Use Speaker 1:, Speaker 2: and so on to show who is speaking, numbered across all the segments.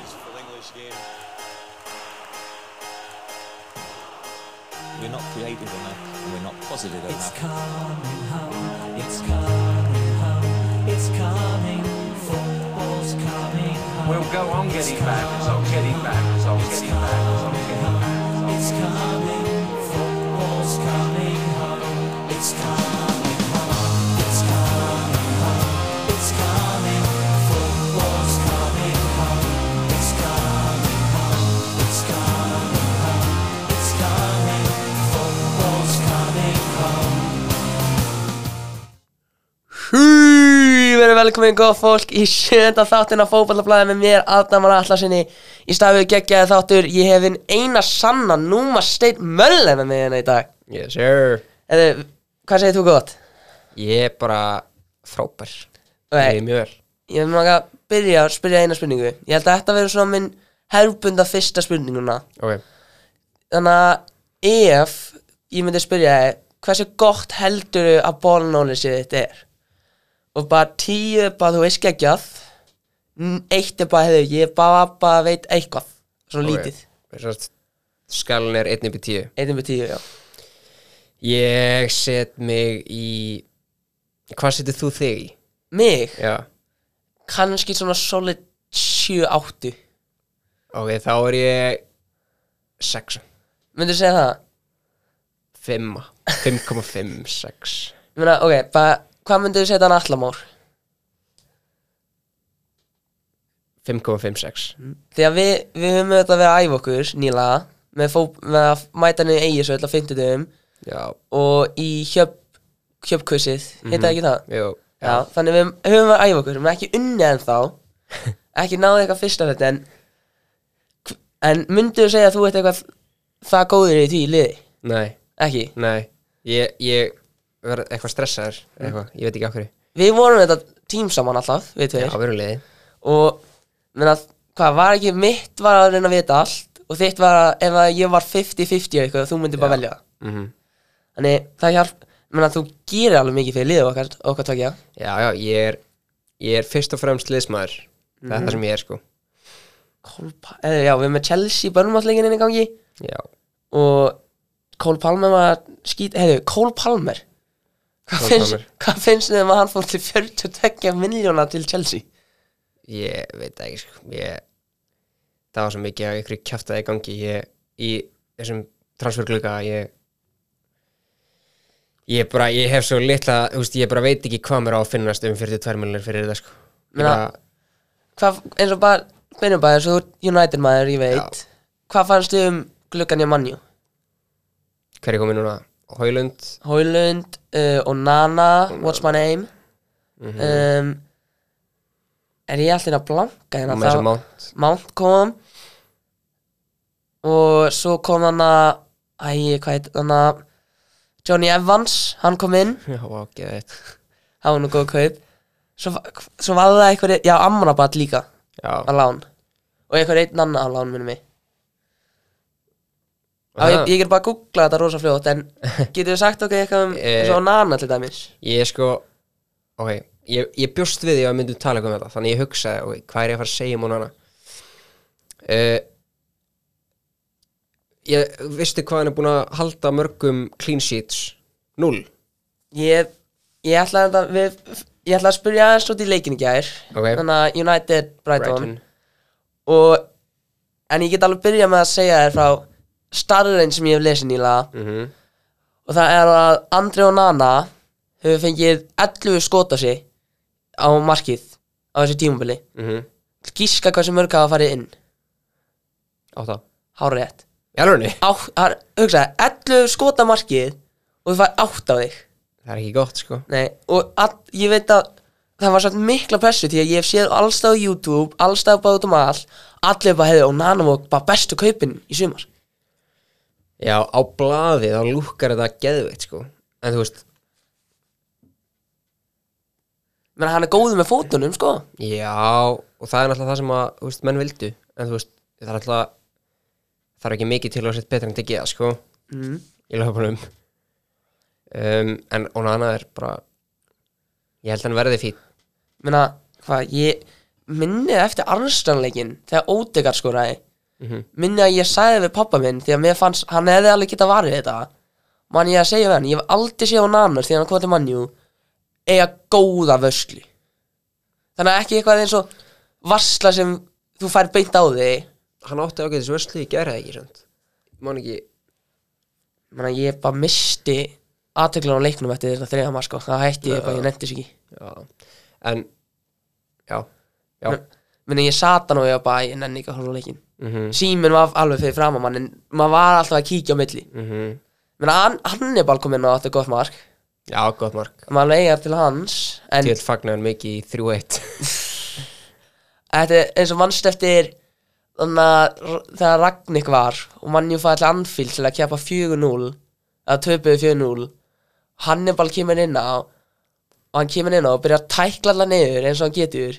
Speaker 1: this game. We're not creative enough, and we're not positive
Speaker 2: It's
Speaker 1: enough.
Speaker 2: coming home, it's coming home, it's coming, football's coming home.
Speaker 3: We'll go on getting back, so getting back, so getting back, so getting back. So.
Speaker 2: It's coming, football's coming home, it's coming home, it's coming home, it's coming, football's coming home, it's coming home, it's coming home, it's coming, football's coming home.
Speaker 4: Hú, verið velkomin góð fólk í sjönda þáttin á fótballablaði með mér Adamar Atlasinni Í stafiðu geggjaði þáttur, ég hef hinn eina sanna Núma Steinn Möller með mig hérna í dag
Speaker 5: Yes sir
Speaker 4: Eða, hvað segir þú gott?
Speaker 5: Ég er bara frábær Ég er
Speaker 4: Nei,
Speaker 5: mjög vel
Speaker 4: ég vil maga að byrja að spyrja eina spurningu Ég held að þetta verður svona minn herrbunda fyrsta spurninguna
Speaker 5: Ok
Speaker 4: Þannig að ef ég myndi spyrja þið Hversu gott heldur að bólnólisið þitt er? Og bara tíu er bara þú veist geggjað n- Eitt er bara hefur ég bara, bara veit eitthvað Svona
Speaker 5: Ok.
Speaker 4: lítið
Speaker 5: Sérst, Skalan er 1 upp í 10
Speaker 4: Eitt með tíu, já
Speaker 5: Ég set mig í Hvað setur þú þig í?
Speaker 4: Mig,
Speaker 5: Já
Speaker 4: kannski svona solid 7-8
Speaker 5: Ok, þá er ég 6
Speaker 4: Myndu segja það?
Speaker 5: 5 5,5 6
Speaker 4: Ég meina, ok, bara Hvað myndu þú setja hann allamár?
Speaker 5: 5,5 6
Speaker 4: Því að við, við höfum auðvitað verið að æfa okkur nýlega með, fó, með að mæta niður eigi svo öll á 50
Speaker 5: Já
Speaker 4: og í hjöp, hjöpkursið, heita mm ekki það?
Speaker 5: Jú
Speaker 4: Já, þannig við höfum að æfa okkur, við höfum ekki unnið ennþá, ekki náðið eitthvað fyrsta þetta en, en myndu þú segja að þú ert eitthvað það góður í því liði,
Speaker 5: Nei,
Speaker 4: ekki?
Speaker 5: nei Mm. Ég, ég verð eitthvað stressaður eitthvað. Ég veit ekki okkur
Speaker 4: Við vorum þetta tím saman alltaf, við
Speaker 5: Já,
Speaker 4: tveir,
Speaker 5: verulegði
Speaker 4: og menna, hvað var ekki mitt var að reyna að vita allt og þitt var að ef að ég var 50-50 eða eitthvað, þú myndir bara velja það.
Speaker 5: mm
Speaker 4: Þannig það hjálp, menna, þú gerir alveg mikið fyrir liðið okkar, okkar tvekja.
Speaker 5: Já, já, ég er, ég er fyrst og fremst liðsmaður Það
Speaker 4: Mhm.
Speaker 5: er það sem ég er sko
Speaker 4: Kolpa, eða, já, við erum með Chelsea börnmáttleikinn inn í gangi
Speaker 5: Já,
Speaker 4: og Cole Palmer var skýt, heyrðu, Cole Palmer hvað
Speaker 5: Cole
Speaker 4: finnst,
Speaker 5: Palmer.
Speaker 4: hvað finnst þið um að hann fór til 42 miljóna til Chelsea
Speaker 5: ég veit það ekki sko ég, Það var svo mikið að ykkur kjaftaði í gangi ég, Í þessum transferglugga ég, ég bara, ég hef svo litla þú veist, Ég bara veit ekki hvað mér á að finnast um 42 miljonir fyrir þetta sko Ég
Speaker 4: Meina-
Speaker 5: bara,
Speaker 4: hvað, eins og bara, beinum bara eins og þú ert United maður, ég veit hvað fannst þið um gluggan hjá Manju
Speaker 5: Hver er komið núna? Hólund
Speaker 4: Hoylund uh, og Nana What's my name
Speaker 5: Mhm.
Speaker 4: um, er ég alltaf að blanka hérna
Speaker 5: með þessum mánt
Speaker 4: Mount kom og svo kom hann að æ, hvað heit hann að Johnny Evans, hann kom inn
Speaker 5: Já, ekki þetta
Speaker 4: það var nú góð kaup svo, va- svo var það einhver, já, Amrabat líka
Speaker 5: Já,
Speaker 4: að lán og einhver einn annar að lán minni mig Já, ég, ég er bara að googla þetta rosa fljótt en getur við sagt okkur eitthvað um
Speaker 5: Eh.
Speaker 4: eins og nana til dæmis
Speaker 5: Ég er sko Ok, ég, ég bjóst við því að við myndum tala eitthvað um þetta Þannig ég hugsaði, ok, hvað er ég að fara að segja um múnana uh, Ég vistu hvað hann er búin að halda mörgum clean sheets Null
Speaker 4: ég, ég ætla að við, ég ætla að spyrja aðeins út í leikin í gær
Speaker 5: Ok.
Speaker 4: þannig að United Brighton.
Speaker 5: Brighton
Speaker 4: og en ég get alveg byrja með að segja þér frá starrein sem ég hef lesið nýlega
Speaker 5: Mhm.
Speaker 4: og það er að Andri og Nana hefur fengið 11 skot á sig á markið á þessu tímabili
Speaker 5: Mhm.
Speaker 4: gíska hversu mörg hafa farið inn
Speaker 5: Átta
Speaker 4: hárétt
Speaker 5: Í alvörunni?
Speaker 4: hugsaði, 11 skot á markið og þú farið 8 á þig
Speaker 5: Það er ekki gott sko
Speaker 4: Nei, og all, ég veit að það var satt mikla pressu því að ég hef séð allstað á YouTube, allstað bara út um all allir bara hefði og Nana var bara bestu kaupin í sumar
Speaker 5: Já, á blaði þá lúkkar þetta geðveitt sko En þú veist,
Speaker 4: menn hann er góður með fótunum sko
Speaker 5: já Og það er náttúrulega það sem að, þú veist, menn vildu En þú veist, það er alltaf Það er ekki mikið til að setja betra en þetta geða sko
Speaker 4: mm.
Speaker 5: í löpunum um, en hún annað er bara ég held að hann verði fín
Speaker 4: menna, hvað, ég minnið eftir Armstrongleikin þegar Ódegar skoraði minnið að ég sagði við pappa minn því að mér fannst, hann hefði alveg geta varið þetta mann ég að segja við hann, ég hef aldrei séð hún annars því að hann kom til mannjú eiga góða vöslu þannig að ekki eitthvað eins og varsla sem þú fær beint á þig
Speaker 5: Hann átti ágætis vörslu í gerði ekki sant? Man ekki
Speaker 4: Man að ég bara misti aðtöklan á leiknum eftir þetta þriða maður sko Það hætti ég bara, ég nefndi sér ekki
Speaker 5: já. En Já, já
Speaker 4: Menni ég satan og ég var bara, ég nenni ekki að horfa á leikin Síminn var alveg fyrir fram á mann En maður var alltaf að kíkja á milli
Speaker 5: mm -hmm.
Speaker 4: Menni hann, hann er bara komin á þetta gott mark
Speaker 5: Já, gott mark
Speaker 4: Maður leigar til hans En
Speaker 5: Ég vil fagna hann mikið í 3-1
Speaker 4: þetta er eins og mannst eftir Þannig að þegar Ragnik var Og mannjú fæði allir anfíl til að keppa 4-0 Eða töpuðu 4-0 Hannibal kemur inn á Og hann kemur inn á og byrjar að tækla allar niður eins og hann getur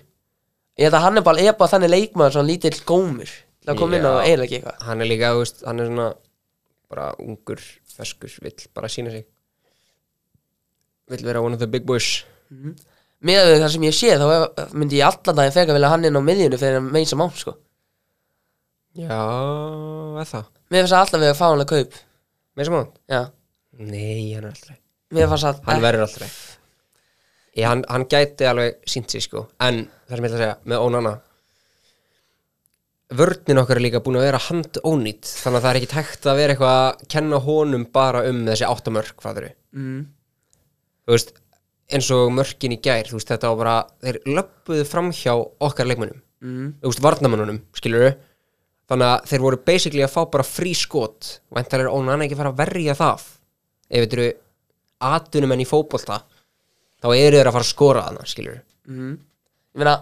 Speaker 4: Ég held að Hannibal er bara þannig leikmaður Svona lítill gómur Til að koma inn á
Speaker 5: Já.
Speaker 4: og eiginlega ekki eitthvað
Speaker 5: Hann er líka, þú veist, hann er svona bara ungur, feskur, vill bara sína sig Vill vera one of the big boys
Speaker 4: Miðað við það sem ég sé þá er- myndi ég allan daginn frekar vilja hann inn á miðjunu Fyrir að meins að má sko
Speaker 5: Já, eða það
Speaker 4: Mér finnst það alltaf við að fá hann að kaup
Speaker 5: Meins og mátt?
Speaker 4: Já
Speaker 5: Nei, hann er alltaf
Speaker 4: Mér fannst það
Speaker 5: Hann verður alltaf Ég, hann, hann gæti alveg sínt sig sko En það sem ég ætla að segja, með ónana Vörnin okkar er líka búin að vera handónýtt Þannig að það er ekki tækt að vera eitthvað að kenna honum bara um þessi áttamörk fæðru
Speaker 4: mm,
Speaker 5: Þú veist, eins og mörkin í gær Þú veist, þetta var bara, þeir löppuðu framhjá okkar leikmönnum
Speaker 4: mm,
Speaker 5: Þú veist, varnamönnunum, skilur við Þannig að þeir voru basically að fá bara frí skot Væntar er ónana ekki að fara að verja það Ef þetta eru atvinnumenn í fótbolta Þá eru þeir að fara að skora þarna, skilur
Speaker 4: mm. Ég meina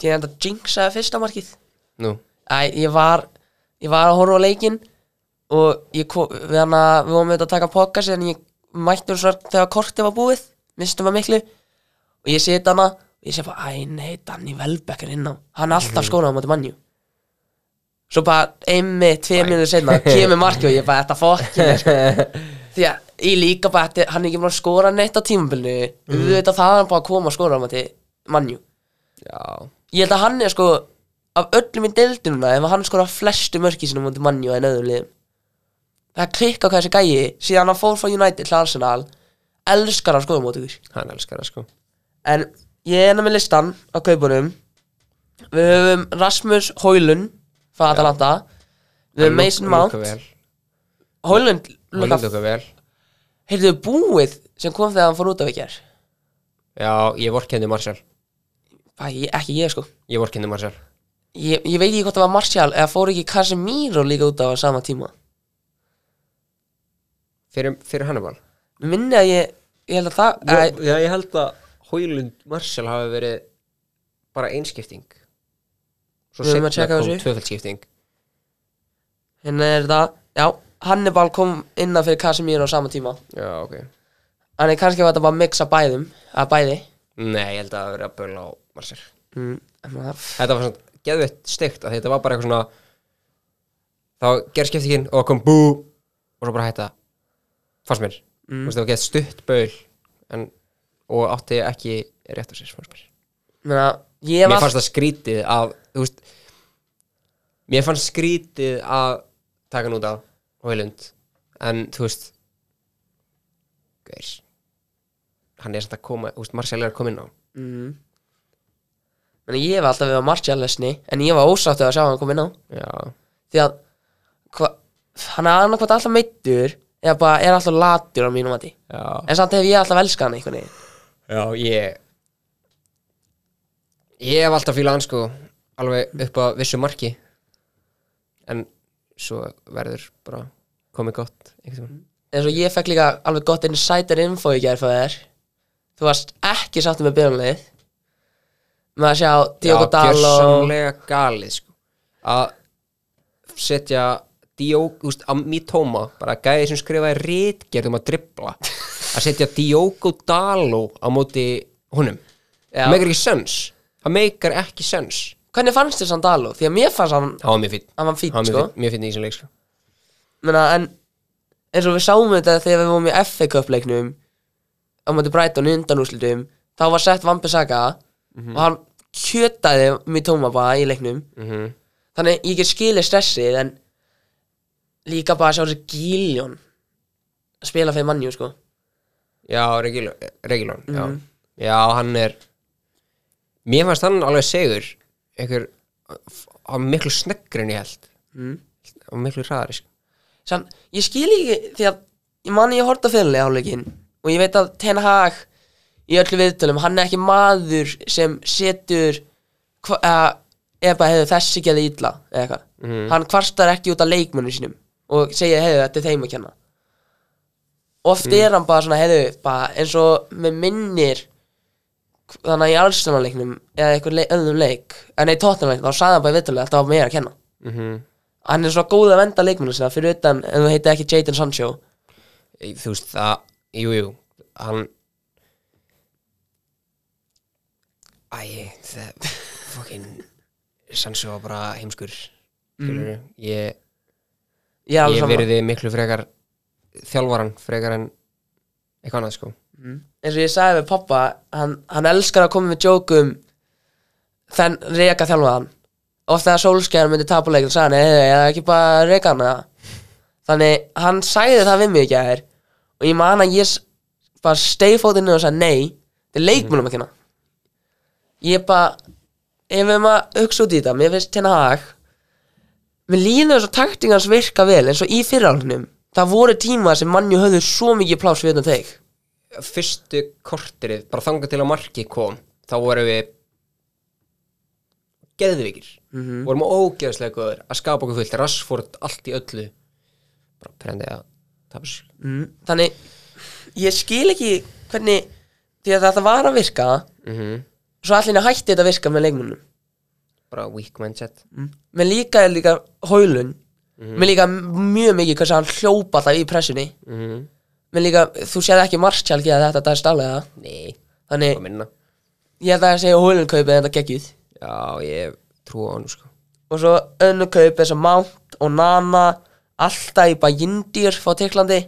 Speaker 4: Ég enda jinxaði fyrsta markið
Speaker 5: Nú,
Speaker 4: Æ, ég var ég var að horfa á leikinn og ég kom, við hann að við vorum auðvitað að taka pokas en ég mætti hún svo þegar kortið var búið minnstum að miklu og ég seti hana og ég segi bara, æ nei, Danny Welbeck er inn á hann er alltaf skónað á móti mannjú svo bara einmi, tvei mínútur senna kemur markið og ég bara, þetta fokkin er, sko. því að ég líka bara þetta, hann er ekki bara að skora neitt á tímabilinu mm. við veit að það er hann bara að koma að skóra á móti mannjú
Speaker 5: já
Speaker 4: ég held að hann er sko af öllum í deildinuna ef hann skora flestu mörki sinum mútið mannjú en öðrum liðum það er klikka hvað þessi gæi síðan hann fór frá United til Arsenal elskar að skoða mútið ykkur
Speaker 5: Hann elskar það sko
Speaker 4: en ég er enn með listan á kaupunum við höfum Rasmus Hoylund frá Atalanta við höfum Mason Mount Hoylund
Speaker 5: Lúka
Speaker 4: heyrðu
Speaker 5: vel
Speaker 4: þau búið sem kom þegar hann fór út af ekki
Speaker 5: Já, ég vorkendi Marcel
Speaker 4: ekki ég sko
Speaker 5: Ég vorkendi Marcel
Speaker 4: ég, ég veit ekki hvort það var Martial eða fór ekki Casemiro líka út af á sama tíma
Speaker 5: Fyrir, fyrir Hannibal
Speaker 4: Mér minni að ég, ég held að það
Speaker 5: já,
Speaker 4: að,
Speaker 5: já, ég held að Hólund Marcel hafi verið bara einskipting Svo
Speaker 4: Við verðum að
Speaker 5: seinna
Speaker 4: checka á
Speaker 5: kom
Speaker 4: þessu.
Speaker 5: tvöfaldskipting
Speaker 4: hérna er það, já, Hannibal kom innan fyrir Casemiro á sama tíma
Speaker 5: Já, ok
Speaker 4: Þannig kannski var þetta bara að mixa bæðum, að bæði
Speaker 5: Nei, ég held að það hafi verið að böla á Marcel
Speaker 4: mm, en maður-
Speaker 5: Þetta var svona geðveitt steikt að þetta var bara eitthvað svona þá gerð skiptingin og kom bú og svo bara hætta fannst mér, mm. það var geðt stutt baul en, og átti ekki rétt á sér, fannst mér
Speaker 4: meina, ég
Speaker 5: Mér
Speaker 4: var
Speaker 5: fannst það skrítið að þú veist mér fannst skrítið að taka hann út af Hoylund en þú veist gauðir hann er samt að koma, þú veist, Marcel er að koma inn á
Speaker 4: mm, meina, ég var alltaf við að Martial lesni en ég var ósáttu að sjá hann kom inn á
Speaker 5: Já,
Speaker 4: því að hva, hann er annað alltaf meittur eða bara er alltaf latur á mínum mati
Speaker 5: já
Speaker 4: en samt hef ég alltaf elskað hann einhvern veginn
Speaker 5: Já, ég Ég hef alltaf fílað hann sko Alveg upp að vissu marki En svo verður bara komið gott einhvern tímann.
Speaker 4: eins og ég fekk líka alveg gott insider info í gær frá þér þú varst ekki sáttum með byrjumleið með að sjá Diogo
Speaker 5: Já,
Speaker 4: Dalo
Speaker 5: gjörsamlega galið sko Að setja Diogo, úst, að Mitoma Bara gæði sem skrifaði ritgerð um að dribbla Að setja Diogo Dalo á móti honum
Speaker 4: Já.
Speaker 5: Það meikar ekki sens Það meikar ekki sens
Speaker 4: hvernig fannst þér samt Dalo? því að mér fannst hann,
Speaker 5: Það var mjög fýtt
Speaker 4: hann var fýtt
Speaker 5: Það var
Speaker 4: sko
Speaker 5: mjög fínn- mjög fýtt í þessum leik sko
Speaker 4: Menna, en eins og við sáum þetta þegar við vorum í FA Cup leiknum á móti Brighton í undanúslitum þá var sett Vampi Saga og hann kjötaði mér tóma bara í leiknum
Speaker 5: Mhm.
Speaker 4: þannig ég get skilið stressið en líka bara að sjá þessi gíljón að spila fyrir mannjú sko
Speaker 5: Já, Regilon, Regilon já. já, hann er Mér fannst hann alveg segur einhver á miklu sneggri en ég held mm. á miklu hraðari sko.
Speaker 4: Sann, ég skil ekki því að ég manni ég horta fyrirlega áleikin og ég veit að Ten Hag í öllu viðtölum, hann er ekki maður sem setur hva- eða eða bara hefur þessi geði illa eða eitthvað, hann kvartar ekki út af leikmönnum sínum og segja hefur þetta er þeim að kenna oft er hann bara svona hefur bara eins og með minnir þannig að í allstunarleiknum eða eitthvað leik, öðrum leik en í tóttunarleiknum þá sagði hann bara í viðtölum að þetta var meira að kenna hann er svo góð að venda leikmennu sinna fyrir utan en þú heiti ekki Jadon Sancho
Speaker 5: Í- Þú veist það, jú, jú hann Æ, það fokkin Sancho var bara heimskur mm. ég,
Speaker 4: ég er alveg
Speaker 5: ég
Speaker 4: saman
Speaker 5: veriði miklu frekar þjálfaran frekar en eitthvað annað sko
Speaker 4: eins og ég sagði við pappa hann, hann elskar að koma með jókum þann reka þjálfa hann oft þegar sólskjæðan myndi tapa leikin sagði hann, eða ég ekki bara reka hann eða?" þannig hann sagði það við mig ekki að þér og ég man að ég s- bara steifótið niður og sagði nei þetta er leikmennum ekki hérna ég bara ef við maður hugsa út í þetta, mér finnst hérna hag mér líður þess að taktingans virka vel eins og í fyrrálunum það voru tíma sem mannju höfðu svo mikið pláss við þetta teik
Speaker 5: fyrstu korterið bara þangað til að marki kom þá vorum við geðvikir vorum ógeðslega góður að skapa okkur fullt Rashford allt í öllu bara prendið að tapa sér
Speaker 4: Mm, þannig ég skil ekki hvernig því að þetta var að virka
Speaker 5: Mhm.
Speaker 4: svo allir hætti þetta að virka með leikmunum
Speaker 5: bara weak mindset
Speaker 4: menn líka er líka hólun menn líka mjög mikið hversu hann hljópa alltaf í pressunni
Speaker 5: mm -hmm.
Speaker 4: menn líka, þú séð ekki Martial geða þetta það er stálega,
Speaker 5: nei,
Speaker 4: þannig
Speaker 5: það minna
Speaker 4: ég held að það segja hólun kaupið en þetta geggjuð
Speaker 5: já, ég trú á hann sko
Speaker 4: og svo önnu kaup eins og Mount og Nana alltaf í bara Jindir frá Tyrklandi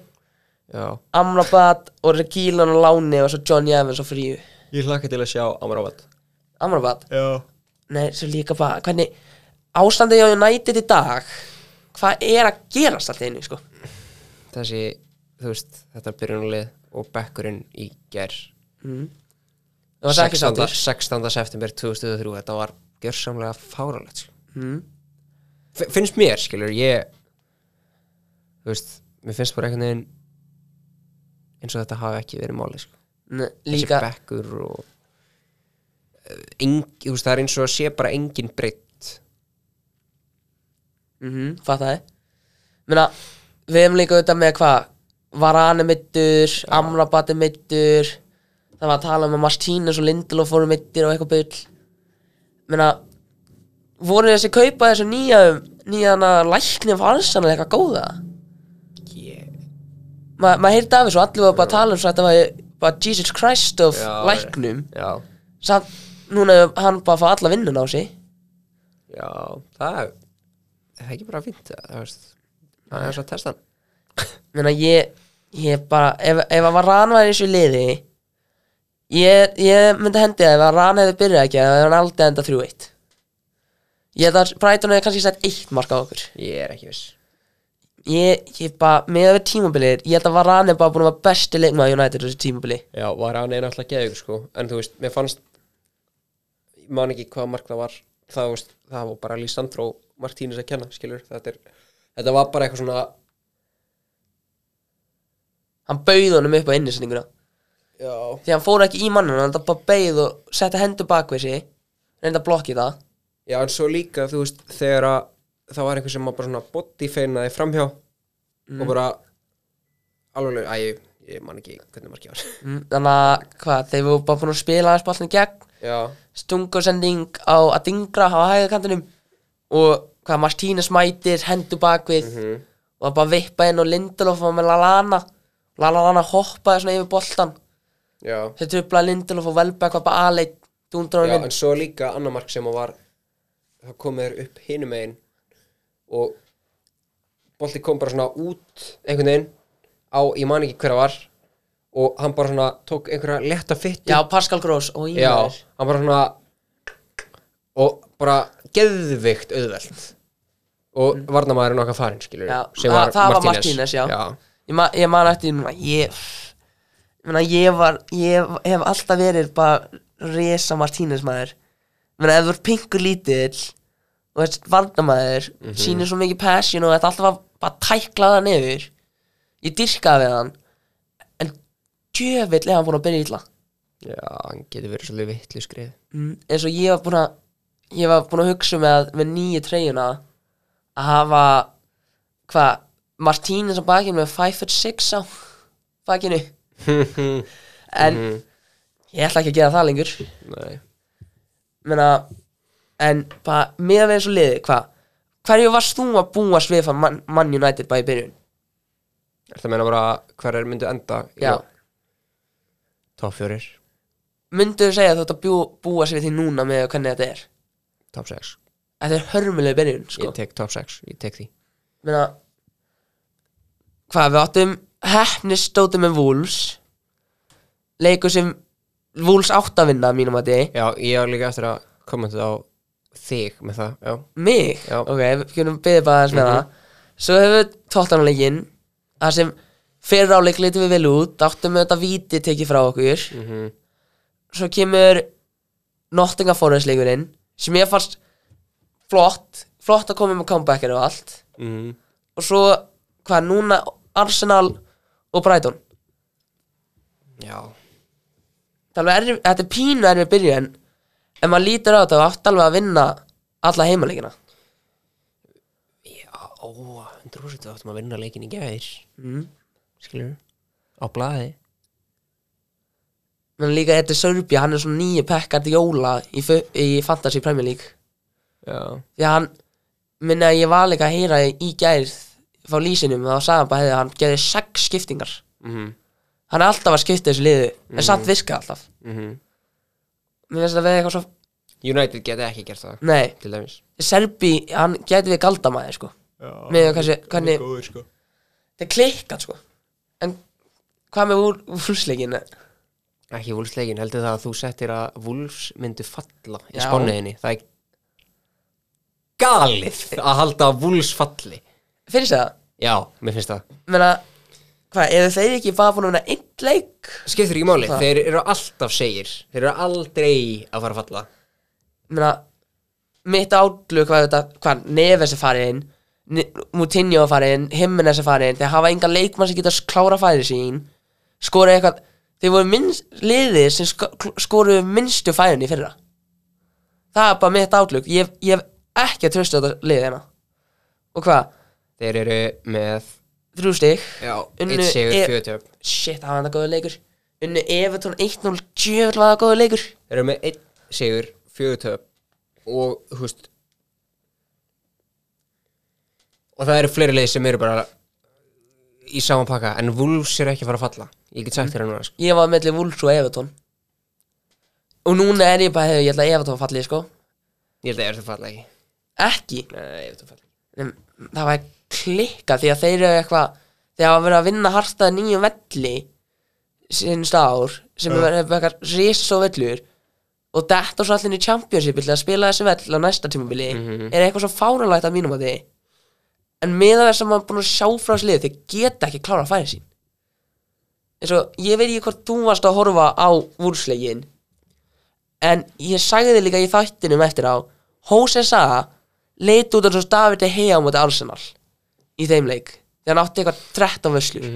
Speaker 5: já.
Speaker 4: Amrabat og Regílan og Láni og svo Johnny Evans og Fríu
Speaker 5: ég hlakka til að sjá Amrabat
Speaker 4: Amrabat
Speaker 5: já,
Speaker 4: Nei, svo líka bara, hvernig ástandið á United í dag hvað er að gerast allt í einu, sko
Speaker 5: þessi, þú veist, þetta byrjunalið og bekkurinn í ger
Speaker 4: það var það ekki
Speaker 5: 16.
Speaker 4: sáttur
Speaker 5: 16. september 2003 þetta var gjörsamlega fáralegt mm. finnst mér skilur ég þú veist, mér finnst bara einhvern veginn eins og þetta hafi ekki verið máli sko.
Speaker 4: Nei,
Speaker 5: þessi
Speaker 4: Líka,
Speaker 5: bekkur og eh, eng, þú veist, það er eins og að sé bara engin breytt
Speaker 4: mhm, fattaði Meina, við hefum líka auðvitað með hvað Varane mittur, Amrabat er mittur Það var að tala um að Martínez og Lindelof fóru mittir og eitthvað bull Meina, voru þessi kaupa þessu nýja nýjana læknum farsan eða eitthvað góða?
Speaker 5: yeah.
Speaker 4: Ma- Maður heyrði af þessu, og allir var bara að tala um svo að þetta var bara Jesus Christ of
Speaker 5: Já,
Speaker 4: læknum
Speaker 5: já,
Speaker 4: samt núna hefur hann bara fá alla vinnun á sig
Speaker 5: já, það er það er ekki bara fínt það þú veist. það er svo að testa hann
Speaker 4: Meina ég, ég bara, ef, ef að Varan var í þessu liði ég, ég myndi hendi að ef að Varan hefði byrjað ekki að hann aldrei enda 3-1 ég held að Brighton hefði kannski sett eitt mark á okkur
Speaker 5: ég er ekki viss
Speaker 4: ég, ég bara, með að vera tímabilið ég held að Varan er bara búin að vera besti leikmaður United á þessu tímabili
Speaker 5: Já, var hann einn alltaf geðug sko En þú veist, mér fannst Ég man ekki hvað mark það var Það, þú veist, það var bara Lísandro Martínez að kenna, skilur Þetta, er, þetta var bara eitthvað svona
Speaker 4: hann bauð honum upp á innisendinguna
Speaker 5: Já,
Speaker 4: því hann fór ekki í mannum, hann það bara bauð og setti hendur bakvið sig reynda að blokki það
Speaker 5: já en svo líka, þú veist Þegar að það var einhver sem var bara svona bodyfeinaði framhjá Og bara Alveg, æ, ég, ég man ekki hvernig markið var
Speaker 4: Mm, þannig að, hvað, þeir voru bara búin að spila aðeins ballin í gegn
Speaker 5: Já,
Speaker 4: stungusending á að dingra á hægakantinum og hvað Martínez mætir, hendur bakvið
Speaker 5: Mhm.
Speaker 4: og það bara vippa inn og Lindelof var með Lalana Lalana hoppaði svona yfir boltan
Speaker 5: já
Speaker 4: þeir trublaði Lindelof og Velbeck var bara aðleitt
Speaker 5: Já,
Speaker 4: dúndraunum
Speaker 5: en svo líka annar mark sem að var það komið þér upp hinum megin og bolti kom bara svona út einhvern veginn á, ég man ekki hver það var og hann bara svona tók einhverja letta fytti
Speaker 4: Já, Pascal Gross og ég
Speaker 5: hann bara svona og bara geðvikt auðvelt og mm. varnamaðurinn okkar farinn skilur
Speaker 4: Já, það- það var Martínez, já. Ég, ma ég man eftir, því núna, ég, ég, meina, ég, var, ég hef alltaf verið bara resa Martínez maður. Ég meina, ef þú ert pinkur lítill og ert vandamaður, sýnir svo mikið passion og þetta alltaf að bara tækla það nefur. Ég dyrkaði við hann, en djöfill er hann búin að byrja illa.
Speaker 5: já, hann getur verið svolítið vitlu skrið
Speaker 4: Mm, eins og ég var búin að, ég var búin að hugsa með, að- með nýju treyjuna að hafa, hvað, Martínez á bakinu með 5'6 á bakinu. en ég ætla ekki að gera það lengur
Speaker 5: Nei.
Speaker 4: menna, en bara meðan við eins og liði, hvað hverju varst þú að búast við frá Man, Man United bara í byrjun?
Speaker 5: Ertu að meina bara hver er myndu enda í
Speaker 4: Já.
Speaker 5: lok? Top 4,
Speaker 4: myndu þú segja að þú ert að bjú, búast við því núna með hvernig þetta er?
Speaker 5: top 6
Speaker 4: Þetta er hörmuleg byrjun, sko
Speaker 5: Ég tek top 6, ég tek því
Speaker 4: meina hvað við áttum hefnistóti með Wolves leikur sem Wolves átt að vinna að mínum að þið
Speaker 5: Já, ég var líka eftir að kommenta á þig með það Já,
Speaker 4: mig,
Speaker 5: Já.
Speaker 4: ok, við kynum byggði bara aðeins með það svo hefur við tóttanleikin það sem fyrir áleik litum við vel út áttum við þetta víti tekið frá okkur svo kemur Nottingham Forest leikurinn sem ég fannst flott flott að koma með comebackinu og allt
Speaker 5: mm.
Speaker 4: og svo hvað núna Arsenal og Brighton
Speaker 5: já.
Speaker 4: Það er alveg erfið- þetta er pínu erfið byrjun en maður lítur á þetta og átt alveg að vinna alla heimaleikina
Speaker 5: Ó, 100% áttum að vinna leikin í gær mm.
Speaker 4: Mhm.
Speaker 5: Skilur Á blaði
Speaker 4: menn líka þetta er Sörbja, hann er svona nýju pekkart jóla í, fu- í Fantasy Premier League
Speaker 5: Já,
Speaker 4: því að hann minna að ég var líka að heyra í gær frá lýsinum þá sagði hann bara hefði að hann gerði sex skiptingar
Speaker 5: Mhm.
Speaker 4: hann er alltaf að skipta þessu liðu en samt virka alltaf
Speaker 5: Mhm.
Speaker 4: mér finnst þetta að vera eitthvað svo
Speaker 5: United geti ekki gert það
Speaker 4: nei,
Speaker 5: Til dæmis
Speaker 4: Serbi, hann gæti við galdamæði sko með hversu, hvernig
Speaker 5: Góður sko
Speaker 4: þetta er klikkan sko en hvað með úr, úrsleikinu
Speaker 5: Ekki Wolves leikin, heldur það að þú settir að Wolves myndu falla í
Speaker 4: Já.
Speaker 5: spánuðinni Það er galið að halda að Wolves falli
Speaker 4: finnst það,
Speaker 5: Já, mér finnst það
Speaker 4: menna hvað, eru þeir ekki bara búin að vinna einn leik
Speaker 5: Skiptir ekki máli,
Speaker 4: Það.
Speaker 5: þeir eru alltaf segir Þeir eru aldrei að fara að falla
Speaker 4: menna mitt átlug hvað þetta, hvað Neves er farin Ne- Moutinho er farin, Jimenez er farin þeir hafa engan leikmann sem geta klára færi sín skora eitthvað þeir voru minnst, liðið sem sk skoruðu minnstu færin í fyrra það er bara mitt átlug ég, ég hef ekki að trösta þetta liðið hérna og hvað,
Speaker 5: Þeir eru með
Speaker 4: þrjú stig
Speaker 5: Já,
Speaker 4: Unnu
Speaker 5: eitt sigur,
Speaker 4: e-
Speaker 5: fjögur tjöp
Speaker 4: shit, það var þetta góður leikur unnu Evertón 1-0, djöfell var það góður leikur
Speaker 5: Þeir eru með einn sigur, fjögur töp og, þú veist og það eru fleiri leið sem eru bara í saman pakka en Wolves er ekki að fara að falla ég get sagt þér það núna sko.
Speaker 4: ég var meðli Wolves og Evertón og núna er ég bara hefur, ég ætla að Evertón fallið sko
Speaker 5: ég held að Everton falla ekki
Speaker 4: ekki,
Speaker 5: Nei, Everton falla ekki
Speaker 4: en það var klikka því að þeir eru eitthvað þeir hafa verið að vinna hartaði nýjum velli sinnst ár sem er verið eitthvað ris og vellur og þetta svo allir í championship til að spila þessi vell á næsta tímabili
Speaker 5: Mhm.
Speaker 4: er eitthvað svo fáralagt að mínum að þið en meðan þess að maður er búin að sjá frá þessi lið þeir geta ekki klára að færa sín eins og ég veit ekki hvort þú varst að horfa á vúrslegin en ég sagði þið líka í þættinum eftir á Hose Saha leit út eins og David Hea á móti Arsenal í þeim leik þegar hann átti eitthvað 13 vöslur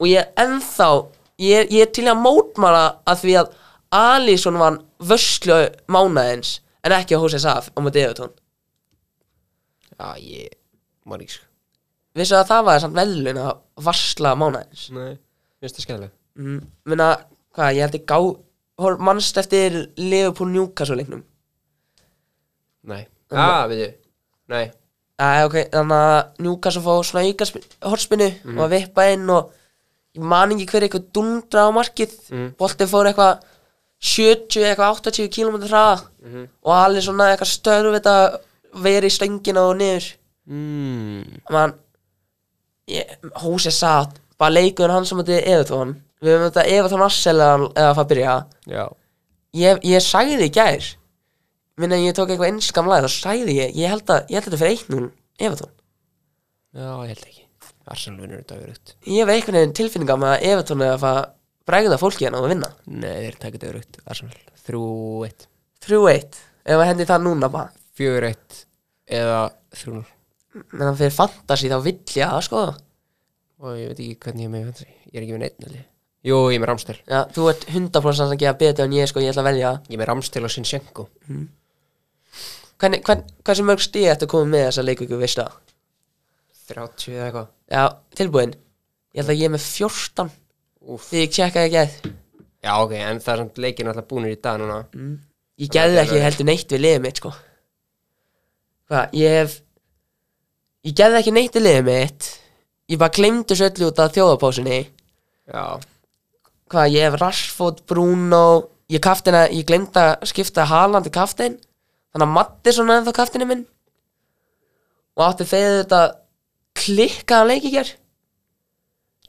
Speaker 4: og ég er ennþá ég, er- ég er til í að mótmála að því að Alisson vann vöslu mánaðins en ekki Hose Saha á móti Evertón
Speaker 5: já, ég maður ekki sko
Speaker 4: vissu að það var samt velun að varsla mánaðins
Speaker 5: Nei, finnst það skæðilega
Speaker 4: mm, minna, hvað, ég held ég gá hor- manst eftir Liverpool Newcastle leiknum
Speaker 5: Nei, ah, veitu Nei,
Speaker 4: Æ, ok, þannig að Newcastle fóð svona auka horspinu og að vippa inn og ég man ekki hver eitthvað dundra á markið mm. boltið fór eitthvað 70, eitthvað 80 km hraða og allir svona eitthvað störf þetta verið í stöngina og niður
Speaker 5: mm.
Speaker 4: Man, ég, Hósi satt bara leikur hann sem þetta er Evertón við höfum þetta Evertón Assel eða eða það byrja
Speaker 5: já
Speaker 4: ég, ég sagði þið í gær minna en ég tók eitthvað einskam lag þá sæði ég, ég held að, ég held að þetta fyrir eitt núl Evertón,
Speaker 5: Já, ég held ekki Arsenal vinnur þetta örugt
Speaker 4: ég hef einhvern veginn tilfinninga með að Evertón er að fara bregða fólki hérna og vinna
Speaker 5: Nei, þeir taka þetta örugt Arsenal 3-1
Speaker 4: 3-1, ef að hendi það núna bara
Speaker 5: 4-1 eða 3-0
Speaker 4: menn hann fyrir fantasy þá vill ég að sko
Speaker 5: Og ég veit ekki hvernig ég er með fantasy Ég er ekki með neitt alveg Jú, ég er með Ramstel
Speaker 4: já, þú ert 100% að gera betur en ég sko, ég ætla að velja
Speaker 5: Ég er með Ramstel og Sinchenko
Speaker 4: Hvernig, hvern, hversu mörg stíð ertu komið með þessa leikvíku, veistu það?
Speaker 5: 30 eða eitthvað
Speaker 4: Já, tilbúin Ég held að ég er með 14
Speaker 5: Úff.
Speaker 4: Því ég tjekkaði ekki að
Speaker 5: Já, ok, en það er samt leikir náttúrulega búnir í dag núna
Speaker 4: Ég gerði ekki heldur neitt við liðið mitt sko. Hvað, ég hef Ég gerði ekki neitt við liðið mitt Ég bara glemdu svo öllu út af þjóðapásinni
Speaker 5: Já,
Speaker 4: Hvað, ég hef Rashford, Bruno Ég kaftina, ég glemd að skipta Haaland í kaftin Þannig að Matti svona ennþá kaftinu minn Og átti þegar þetta Klikkaðan leik í gerð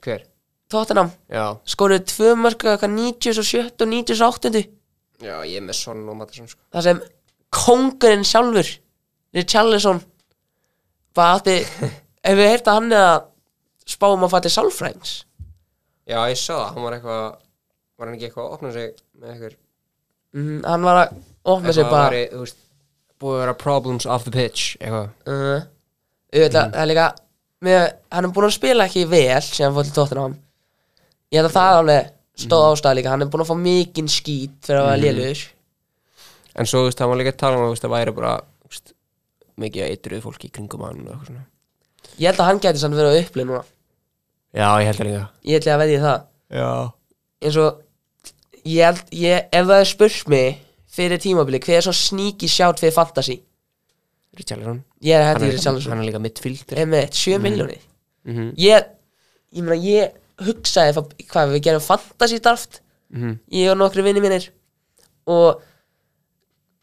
Speaker 5: hver?
Speaker 4: Tottenham
Speaker 5: Já,
Speaker 4: Skoruðu tvö mörka, eitthvað 97 og 98
Speaker 5: já, ég er með Son og Matheson sko.
Speaker 4: það sem kongurinn sjálfur Richarlison bara átti ef við heyrta hann eða spáum að fætti sálfrængs
Speaker 5: Já, ég sá það, hann var eitthvað Var hann ekki eitthvað að opna sig með eitthvað
Speaker 4: mm, hann var að opna sig
Speaker 5: Eitthvað
Speaker 4: bara
Speaker 5: væri, þú veist Búið að vera problems off the pitch Eitthvað
Speaker 4: uh,
Speaker 5: Mm.
Speaker 4: auðvitað, það er líka með, hann er búin að spila ekki vel síðan hann fór til Tottenham ég held að það alveg stóð
Speaker 5: Mhm.
Speaker 4: ástæð líka hann er búin að fá mikinn skít fyrir að vera lélugur
Speaker 5: En svo, þú veist, hann var líka að tala um að þú veist, það væri bara þú veist, Mikið að eitruð fólki í kringum hann og eitthvað svona
Speaker 4: ég held að hann gæti sann verið á upplið núna
Speaker 5: Já, ég held það líka
Speaker 4: ég held að veðja það
Speaker 5: Já
Speaker 4: eins og ég held, ég, ef það er spurt mig fyrir tímabili, hver er svo sníki sjátt fyrir fantasy?
Speaker 5: Richarlison
Speaker 4: Ég er að
Speaker 5: Hann
Speaker 4: hendi
Speaker 5: er
Speaker 4: í
Speaker 5: líka-
Speaker 4: Richarlison
Speaker 5: hann er líka midfield
Speaker 4: Emmett, 7 miljónir
Speaker 5: Mhm.
Speaker 4: Ég, ég meina, ég hugsaði fa- hvað við gerum fantasy draft
Speaker 5: Mhm.
Speaker 4: ég og nokkri vinni mínir og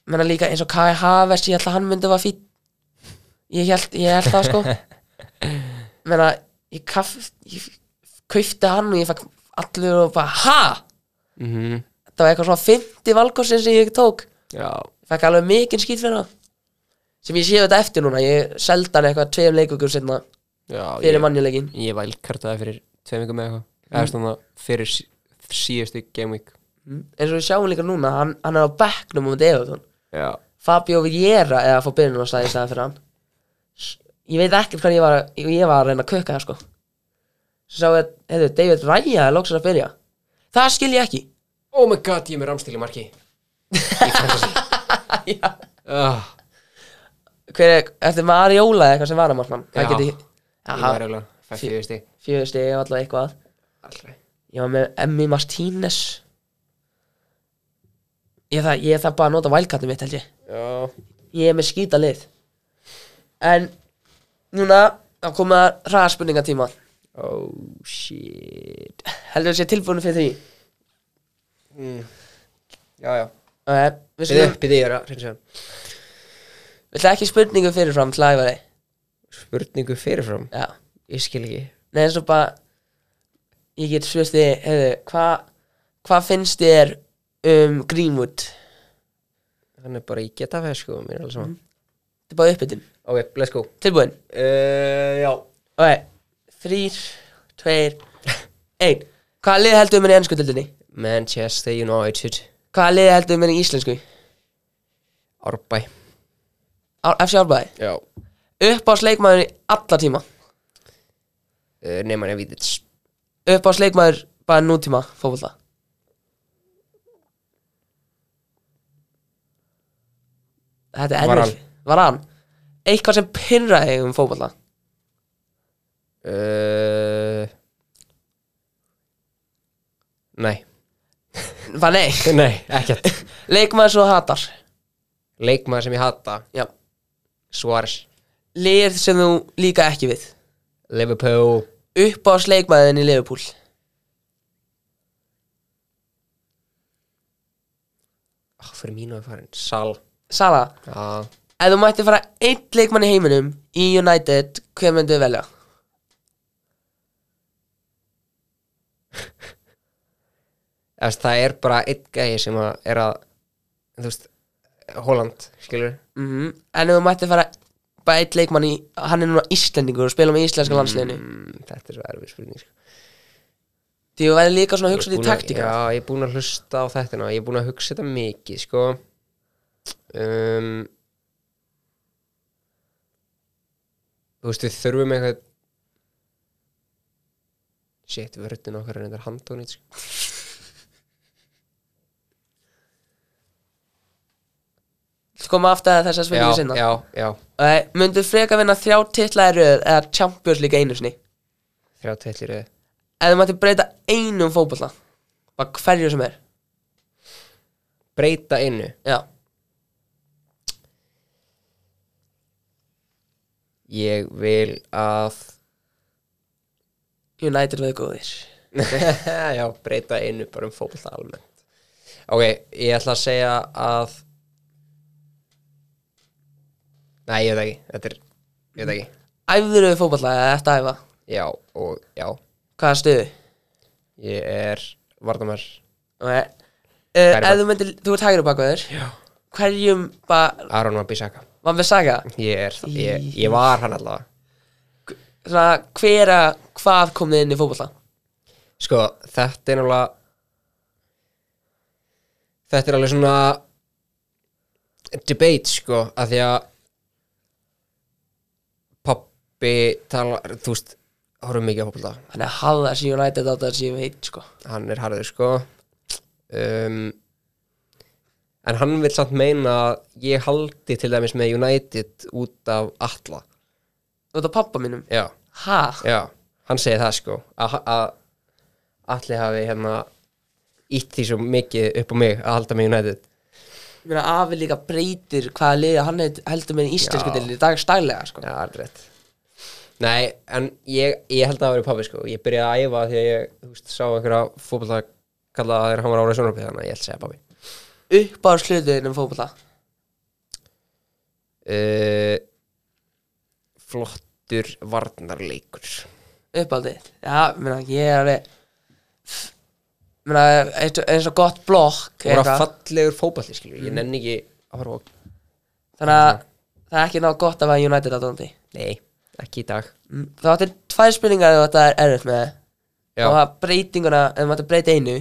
Speaker 4: menna líka eins og Kai Havers, ég held að hann myndi var fín ég held, ég held það sko menna, ég, kaf, ég kaufti hann og ég fæk allur og bara, ha?
Speaker 5: Mhm.
Speaker 4: þetta var eitthvað svona 50 valkostin sem ég tók
Speaker 5: Já,
Speaker 4: fæk alveg mikinn skýt fyrir það sem ég sé þetta eftir núna ég seldi hann eitthvað tveim leikugur setna
Speaker 5: já
Speaker 4: fyrir
Speaker 5: ég-
Speaker 4: mannjuleikin
Speaker 5: Ég vælkartaði fyrir tveim vikum eða eitthvað Eða svona fyrir sí- síðustu game week
Speaker 4: eins og við sjáum líka núna hann, hann er á bekknum um þetta Everton
Speaker 5: Já
Speaker 4: Fabio Vieira eða að fá byrjunum á stæði stæði fyrir hann S- ég veit ekkert hvað ég var að- ég var að reyna að kökka það sko svo sá ég að heyrðu, David Raya er lóksins að byrja það skil ég ekki
Speaker 5: Oh my god, ég er með ramstil í marki Í fantasy uh,
Speaker 4: hver er, eftir Mariola eða eitthvað sem var að markmann
Speaker 5: Já. Ég var
Speaker 4: geti
Speaker 5: eiginlega Fæ fjögur stig
Speaker 4: fjöðu stegi alltaf eitthvað
Speaker 5: Alltaf
Speaker 4: ég var með Emmy Martínez ég það, ég það bara að nota wildcardið mitt held ég
Speaker 5: Já
Speaker 4: ég er með skýta lið en núna þá komið að hraðspurningatíma
Speaker 5: Oh shit
Speaker 4: heldur þú sé tilbúinu fyrir því
Speaker 5: Já, já
Speaker 4: uh, við
Speaker 5: Býðu,
Speaker 4: skulum,
Speaker 5: býðu, ég er að hreins að
Speaker 4: við ætlum ekki spurningu fyrirfram til æfari
Speaker 5: Spurningu fyrirfram
Speaker 4: já,
Speaker 5: Ég skil ekki
Speaker 4: nei eins og bara ég get spurt því, hefðu, hvað hvað finnst þér um Greenwood þetta
Speaker 5: Hann er bara í getafæð sko Mér er alveg saman
Speaker 4: er bara uppbytun,
Speaker 5: Ok, let's go
Speaker 4: tilbúin
Speaker 5: uh, Já
Speaker 4: ok, þrýr, tveir ein, hvaða lið heldur um mér í ennsku dildinni
Speaker 5: Manchester United
Speaker 4: hvaða lið heldur um mér í íslensku
Speaker 5: Árbæ
Speaker 4: Á- FC Árbæði,
Speaker 5: Já
Speaker 4: uppáðsleikmaður í alla tíma
Speaker 5: uh, Neyman er vítits
Speaker 4: upp á sleikmaður bara nútíma fókvölda Þetta er
Speaker 5: Varan.
Speaker 4: erfið Var hann Eitthvað sem pyrraði um fókvölda
Speaker 5: uh, Nei
Speaker 4: Var nei
Speaker 5: Nei, ekkert
Speaker 4: Leikmaður svo hatar
Speaker 5: Leikmaður sem ég hata
Speaker 4: Já
Speaker 5: Suárez
Speaker 4: Lið sem þú líka ekki við
Speaker 5: Liverpool
Speaker 4: Upp á sleikmaðin í Liverpool
Speaker 5: oh, Fyrir mínu er farin Sal
Speaker 4: Sala
Speaker 5: Já
Speaker 4: Ef þú mætti fara einn leikmann í heiminum Í United Hver myndu velja?
Speaker 5: Efst, Það er bara einn gæði sem að er að Þú veist Holland, skilur
Speaker 4: Mhm. En ef þú mætti fara bara eitt leikmann í, hann er núna Íslendingur og spila með íslenska landsliðinu
Speaker 5: mm, Þetta er svo erfið spurning sko.
Speaker 4: Því þú væri líka svona að
Speaker 5: Ég
Speaker 4: hugsa
Speaker 5: er
Speaker 4: því
Speaker 5: búinn að-
Speaker 4: taktika
Speaker 5: Já, ég er búin að hlusta á þetta ná. Ég er búin að hugsa þetta mikið sko. um, Þú veist, við þurfum eitthvað Shit, vörðin okkar er reyndar handónið sko.
Speaker 4: Sko maður aftur að þessar spurningu sinna
Speaker 5: já, já
Speaker 4: Nei, Myndu freka vinna þrjá titla í röð eða Champions League einu sinni
Speaker 5: Þrjá tveitlir
Speaker 4: Ef þú mætti breyta einum fótbolta Bara hverju sem er
Speaker 5: Breyta innu
Speaker 4: Já,
Speaker 5: Ég vil að
Speaker 4: United veið góðir
Speaker 5: Já, breyta innu bara um fótbolta almennt Ok, ég ætla að segja að Nei, ég veit ekki Þetta er, ég veit ekki
Speaker 4: Æfður við fótbolta eða eftir að æfa
Speaker 5: Já, og já
Speaker 4: Hvaða stuði?
Speaker 5: Ég er Vardamær
Speaker 4: Nei uh,
Speaker 5: Hægri
Speaker 4: Ef
Speaker 5: bak.
Speaker 4: þú myndir, þú ert hægri bakvæður Hverjum bara,
Speaker 5: Aron Wambisaka
Speaker 4: var með saga
Speaker 5: Ég er, ég, ég var hann allavega
Speaker 4: Svona hver að, hvað kom þið inn í fótbolta
Speaker 5: Sko, þetta er náttúrulega Þetta er alveg svona debate, sko, að því að pappi talar, þú veist horfum mikið að hopla,
Speaker 4: Hann er hafðar sem United átt að sem ég veit sko
Speaker 5: hann er harður, sko um, en hann vil samt meina að ég haldi til dæmis með United út af alla,
Speaker 4: Þú ert að pappa mínum
Speaker 5: já
Speaker 4: Ha?
Speaker 5: Já, hann segir það sko að að allir hafi hérna ítt því svo mikið upp á mig að halda mig United
Speaker 4: Ég meina afi líka breytir hvaða liða hann heit- heldur með í íslensku
Speaker 5: Já.
Speaker 4: deildinni í dag staglega sko
Speaker 5: Já, allir rétt Nei, en ég, ég held að það væri pabbi sko Ég byrjaði að æfa því að ég þú veist, sá einhverja fótbolta kalla að þeir hann var ára í sjónarpið þannig að ég held að segja pabbi
Speaker 4: Uppbár slutuðin um fótbolta
Speaker 5: uh, Flottur varnarleikur
Speaker 4: Uppbáldið Já, ég meina ég er alveg Ég meina eins og- eins og gott blokk
Speaker 5: Það var
Speaker 4: eitthvað.
Speaker 5: fallegur fótbolti skilur Ég nenni ekki að horfa á
Speaker 4: Þannig að það er ekki ná gott að vera United aðdóndi
Speaker 5: Nei, ekki í dag
Speaker 4: Það átti tvær spurningar ef þetta er erfitt með
Speaker 5: Já.
Speaker 4: Það var breytinguna, ef maður ætti að breyta einu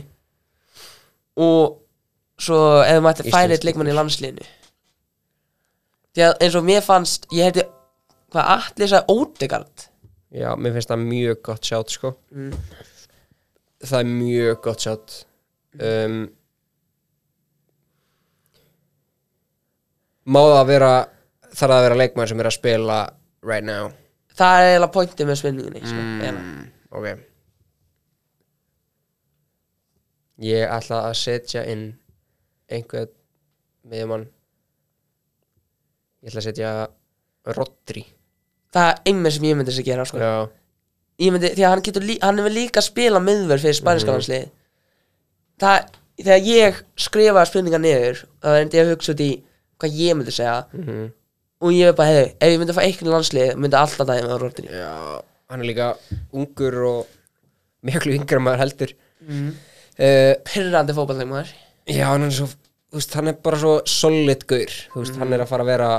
Speaker 4: Og svo ef maður ætti að færa eitt
Speaker 5: Íslensk
Speaker 4: leikmann í landsliðinu Því að eins og mér fannst, ég hefði Hvað allir sagði Ódegard
Speaker 5: Já, mér finnst það mjög gott sjátt sko Það er mjög gott sjátt um, Má það vera þarf það að vera leikmann sem er að spila right now
Speaker 4: Það er eiginlega pointið með spurningunni sko,
Speaker 5: Mm.
Speaker 4: eiginlega.
Speaker 5: Ok Ég ætla að setja inn einhvern miðjumann Ég ætla að setja Rodri
Speaker 4: Það er einmitt sem ég myndi þess að gera sko.
Speaker 5: Já,
Speaker 4: Ég myndi, því að hann getur lí, hann hefur líka að spila miðverð fyrir
Speaker 5: Mhm.
Speaker 4: spænska landslið Það, þegar ég skrifaði spurningar niður Það var endi að hugsa út í hvað ég myndi segja
Speaker 5: Mhm.
Speaker 4: Og ég er bara, heyðu, ef ég myndi að fá eitthvað landslið Myndi alltaf dæmi með Rodri
Speaker 5: Já, hann er líka ungur og miklu yngra en maður heldur
Speaker 4: Mhm.
Speaker 5: uh,
Speaker 4: Pirrandi fótballleikmaður
Speaker 5: Já, hann er svo þú veist, hann er bara svo solid gaur þú veist, hann er að fara að vera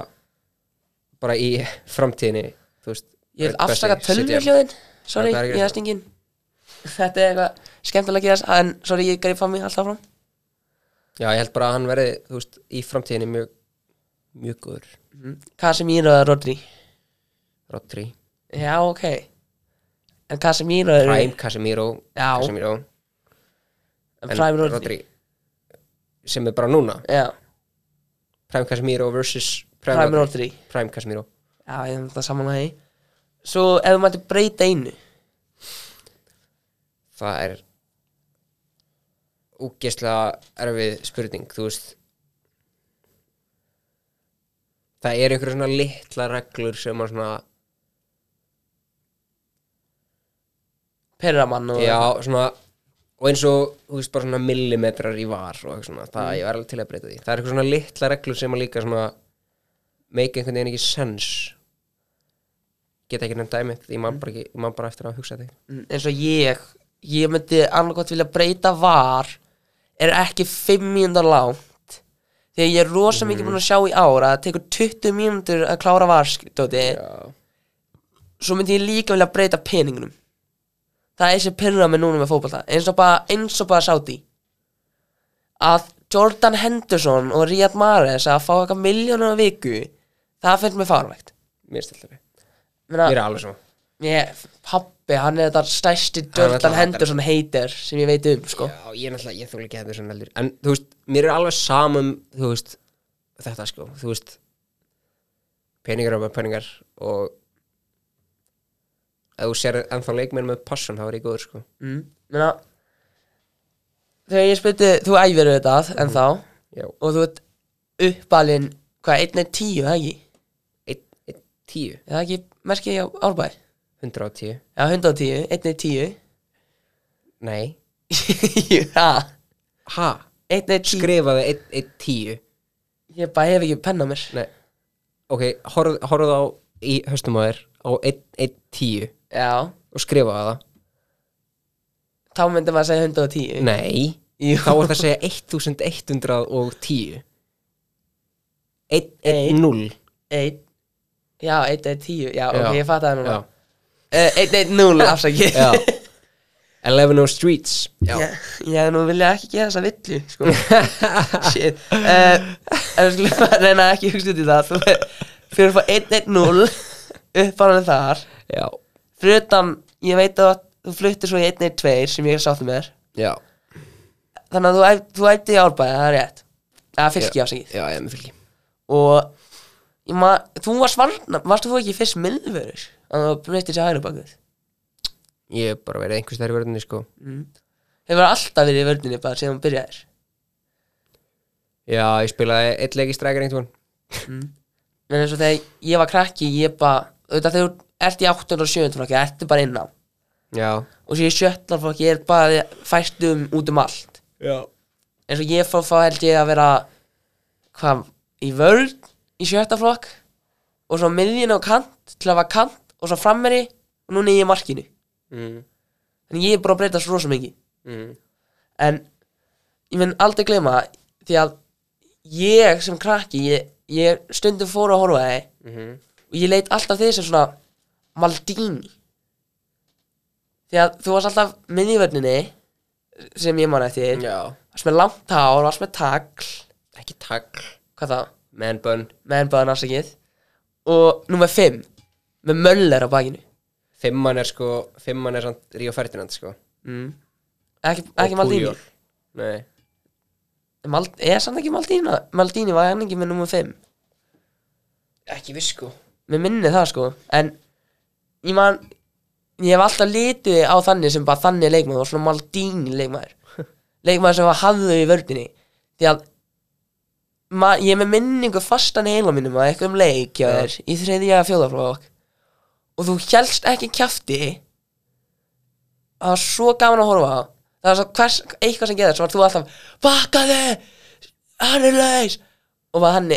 Speaker 5: bara í framtíðinni þú veist,
Speaker 4: Ég vil
Speaker 5: einn besti
Speaker 4: afsaka
Speaker 5: City-
Speaker 4: tölvurhljóðin Sorry,
Speaker 5: Þetta er ekki
Speaker 4: ég hefst engin Þetta er eitthvað skemmtilega að gerast En sorry, ég greip fram í alltaf fram
Speaker 5: Já, ég held bara að hann verði þú veist, í framtíðinni mjög mjög góður, Mhm.
Speaker 4: Hvað sem ég röða Rodri
Speaker 5: Rodri
Speaker 4: Já, ok En hvað sem ég röða
Speaker 5: Prime, Casemiro,
Speaker 4: Eh. Já.
Speaker 5: Casemiro en
Speaker 4: Prime Rodri,
Speaker 5: sem er bara núna
Speaker 4: Já,
Speaker 5: Prime Casemiro versus Prime,
Speaker 4: Prime
Speaker 5: Rodri.
Speaker 4: Rodri
Speaker 5: Prime Casemiro
Speaker 4: Já, ég er þetta saman að því Svo ef þú mætti breyta einu
Speaker 5: það er úgeslega erfið spurning þú veist það er einhverja svona litla reglur sem að svona
Speaker 4: Perramann og
Speaker 5: já, svona og eins og, þú veist, bara svona millimetrar í var og eitthvað svona, það ég var alveg til að breyta því það er eitthvað svona litla reglur sem að líka svona make einhvern veginn ekki sens geta ekki nefnt dæmi því mann bara, ekki, man bara eftir að hugsa því
Speaker 4: Mm, eins og ég Ég myndi annarkot vilja breyta var Er ekki fimm mínúndar langt Þegar ég er rosa mikið búin að sjá í ár að það tekur 20 mínútur að klára varskdóti Svo myndi ég líka vilja breyta peningunum Það er þessi pyrra með núna með fótbolta eins og bara, eins og bara sáti að Jordan Henderson og Riyad Mahrez að fá eitthvað miljónum á viku það finnst mér farvægt
Speaker 5: mér stiltur
Speaker 4: Meina,
Speaker 5: mér er alveg svona
Speaker 4: Ég, pappi, hann er þetta stærsti
Speaker 5: er
Speaker 4: Jordan
Speaker 5: náttúrulega
Speaker 4: Henderson hater sem ég veit um, sko
Speaker 5: Já, ég er náttúrulega, ég þúlega ekki þetta svona heldur En þú veist, mér er alveg samum, þú veist, þetta sko Þú veist, peningar og með peningar Og ef þú sér ennþá leikmenn með passion, þá er ég góður sko
Speaker 4: mm. Meina, Þegar ég spytti, þú æfir þetta en þá
Speaker 5: Mhm. Já,
Speaker 4: og þú ert uppalinn, hvað, einn er tíu, það ekki?
Speaker 5: einn, einn, tíu,
Speaker 4: Er Það ekki, merkið ég á árbæ?
Speaker 5: hundra og tíu
Speaker 4: Já, 110, einn er tíu
Speaker 5: Nei,
Speaker 4: Já,
Speaker 5: ha,
Speaker 4: einn er tíu
Speaker 5: skrifaði einn, einn tíu
Speaker 4: Ég bara hef ekki penna mér
Speaker 5: Nei, ok, horfðu horfðu á í höstum á þér Á einn, einn, tíu
Speaker 4: Já,
Speaker 5: Og skrifaði það
Speaker 4: þá myndi maður að segja 110
Speaker 5: Nei,
Speaker 4: Jú.
Speaker 5: þá er það að segja 1110
Speaker 4: Einn.
Speaker 5: 1-0
Speaker 4: Einn Já, einn er tíu, já,
Speaker 5: Já.
Speaker 4: ok, ég fatt það núna
Speaker 5: Já,
Speaker 4: Eh, Einn er núl, afsakið
Speaker 5: já 11 streets
Speaker 4: Já. Ég hefði nú vilja ekki gera þessa villu sko. Shit uh, En við skulum bara reyna að ekki hugsa út í það Þú fer- fyrir að fá 1-1-0 Uppáðan þar
Speaker 5: Já,
Speaker 4: Fyrir utan, ég veit að þú fluttir svo í 1-1-2 sem ég er sátt með þér
Speaker 5: já,
Speaker 4: Þannig að þú, æf, þú ætti í árbæði, það er rétt Það fylgji ásækið
Speaker 5: já, ég með fylgi
Speaker 4: Og ég ma, þú varst varna, varst þú ekki fyrst miðverður Þannig að þú breytir sér hægri bakið
Speaker 5: Ég hef bara verið einhvers þær í verðinni sko
Speaker 4: Hefur alltaf verið í vörninni bara síðan hún byrjaðir
Speaker 5: Já, ég spilaði eitt leik í strækar einhvern
Speaker 4: en eins og þegar ég var krakki ég bara, auðvitað þegar þú ert í 8. og 7. flokki, ertu bara inn á og
Speaker 5: Já,
Speaker 4: svo ég sjötlar flokki, ég er bara fæst um út um allt
Speaker 5: já,
Speaker 4: eins og ég fór fá held ég að vera hvað, í vörð í sjötta flokk og svo miðjun og kant, til að var kant og svo frammeri og núna er ég í markinu
Speaker 5: mm.
Speaker 4: en ég er bara að breyta svo rosa mikið
Speaker 5: Mm.
Speaker 4: en ég mun aldrei gleyma það, því að ég sem krakki ég, ég stundum fór að horfa á þig
Speaker 5: mhm.
Speaker 4: og ég leit alltaf því sem svona Maldini því að þú varst alltaf miðjvörninni sem ég man eftir
Speaker 5: Já,
Speaker 4: varst með langt hár, varst með tagl
Speaker 5: ekki takl,
Speaker 4: hvað það,
Speaker 5: man bun
Speaker 4: með ennbæðan afsakið og nummer 5 með möller á bakinu
Speaker 5: Fimman er sko, fimman er samt Ríó Ferdinand sko
Speaker 4: mm. ekki,
Speaker 5: Og
Speaker 4: ekki Maldini
Speaker 5: Puyol. Nei,
Speaker 4: Mald, er samt ekki Maldini Maldini var hann ekki með nummer 5
Speaker 5: ekki viss sko
Speaker 4: með minni það sko en ég man ég hef alltaf litið á þannig sem bara þannig leikmaður og svona Maldini leikmaður leikmaður sem var hafður í vördinni því að ma, ég er með minningu fastan í heila mínum að eitthvað um leik hjá þér í þriðja fjóðaflokk og þú hélst ekki kjafti það var svo gaman að horfa á það var svo hvers, eitthvað sem getur svo var þú alltaf bakaði hann er laus og var hann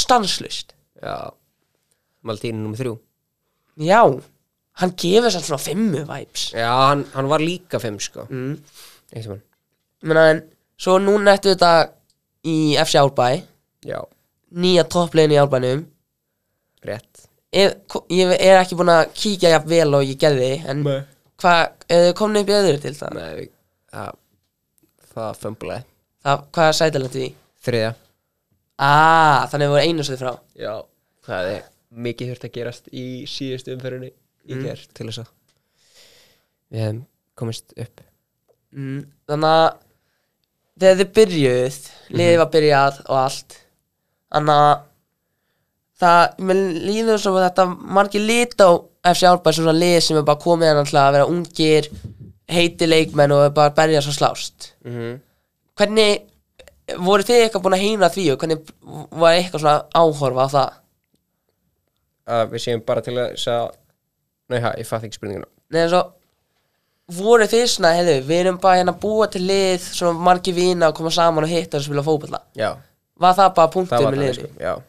Speaker 4: stanslust
Speaker 5: Já, Maldini nummer þrjú
Speaker 4: Já, hann gefur sann svona fimmu vibes
Speaker 5: Já, hann, hann var líka fimm sko
Speaker 4: mm.
Speaker 5: Einhvern veginn
Speaker 4: Menna, en, Svo núna ertu þetta í FC Árbæ
Speaker 5: Já,
Speaker 4: Nýja topplegin í Árbænum
Speaker 5: rétt
Speaker 4: er, ko- Ég er ekki búin að kíkja jafn vel og ég gerði En hvað, er þið komin upp í öðru til það?
Speaker 5: Nei, við- það Það fömblaði
Speaker 4: það hvað er sætalentu í?
Speaker 5: Þriðja
Speaker 4: Ah, þannig að við voru einu svo frá
Speaker 5: Já, það er mikið þurft að gerast í síðustu umferðinni í mm. gerð til þess að við hefum komist upp
Speaker 4: mm. Þannig að þegar þið byrjuð, liðið var byrjað og allt Þannig að það, mér líður svo að þetta margir lit á FC Árbæð svona lið sem er bara komið hann alltaf að vera ungir, heiti leikmenn og er bara að berja svo slást
Speaker 5: mm -hmm.
Speaker 4: Hvernig, voru þið eitthvað búin að heyna því og hvernig var eitthvað svona áhorfa á það?
Speaker 5: Að við séum bara til þess að Nei, hæ, ég fatt ekki spurninguna
Speaker 4: Nei, en svo voru þið svona, heyrðu, við erum bara hérna að búa til lið, svona margir vina og koma saman og hitta og spila fótballa
Speaker 5: Já,
Speaker 4: Var það bara punktum
Speaker 5: það var
Speaker 4: í
Speaker 5: þannig
Speaker 4: liðinu?
Speaker 5: sko Já,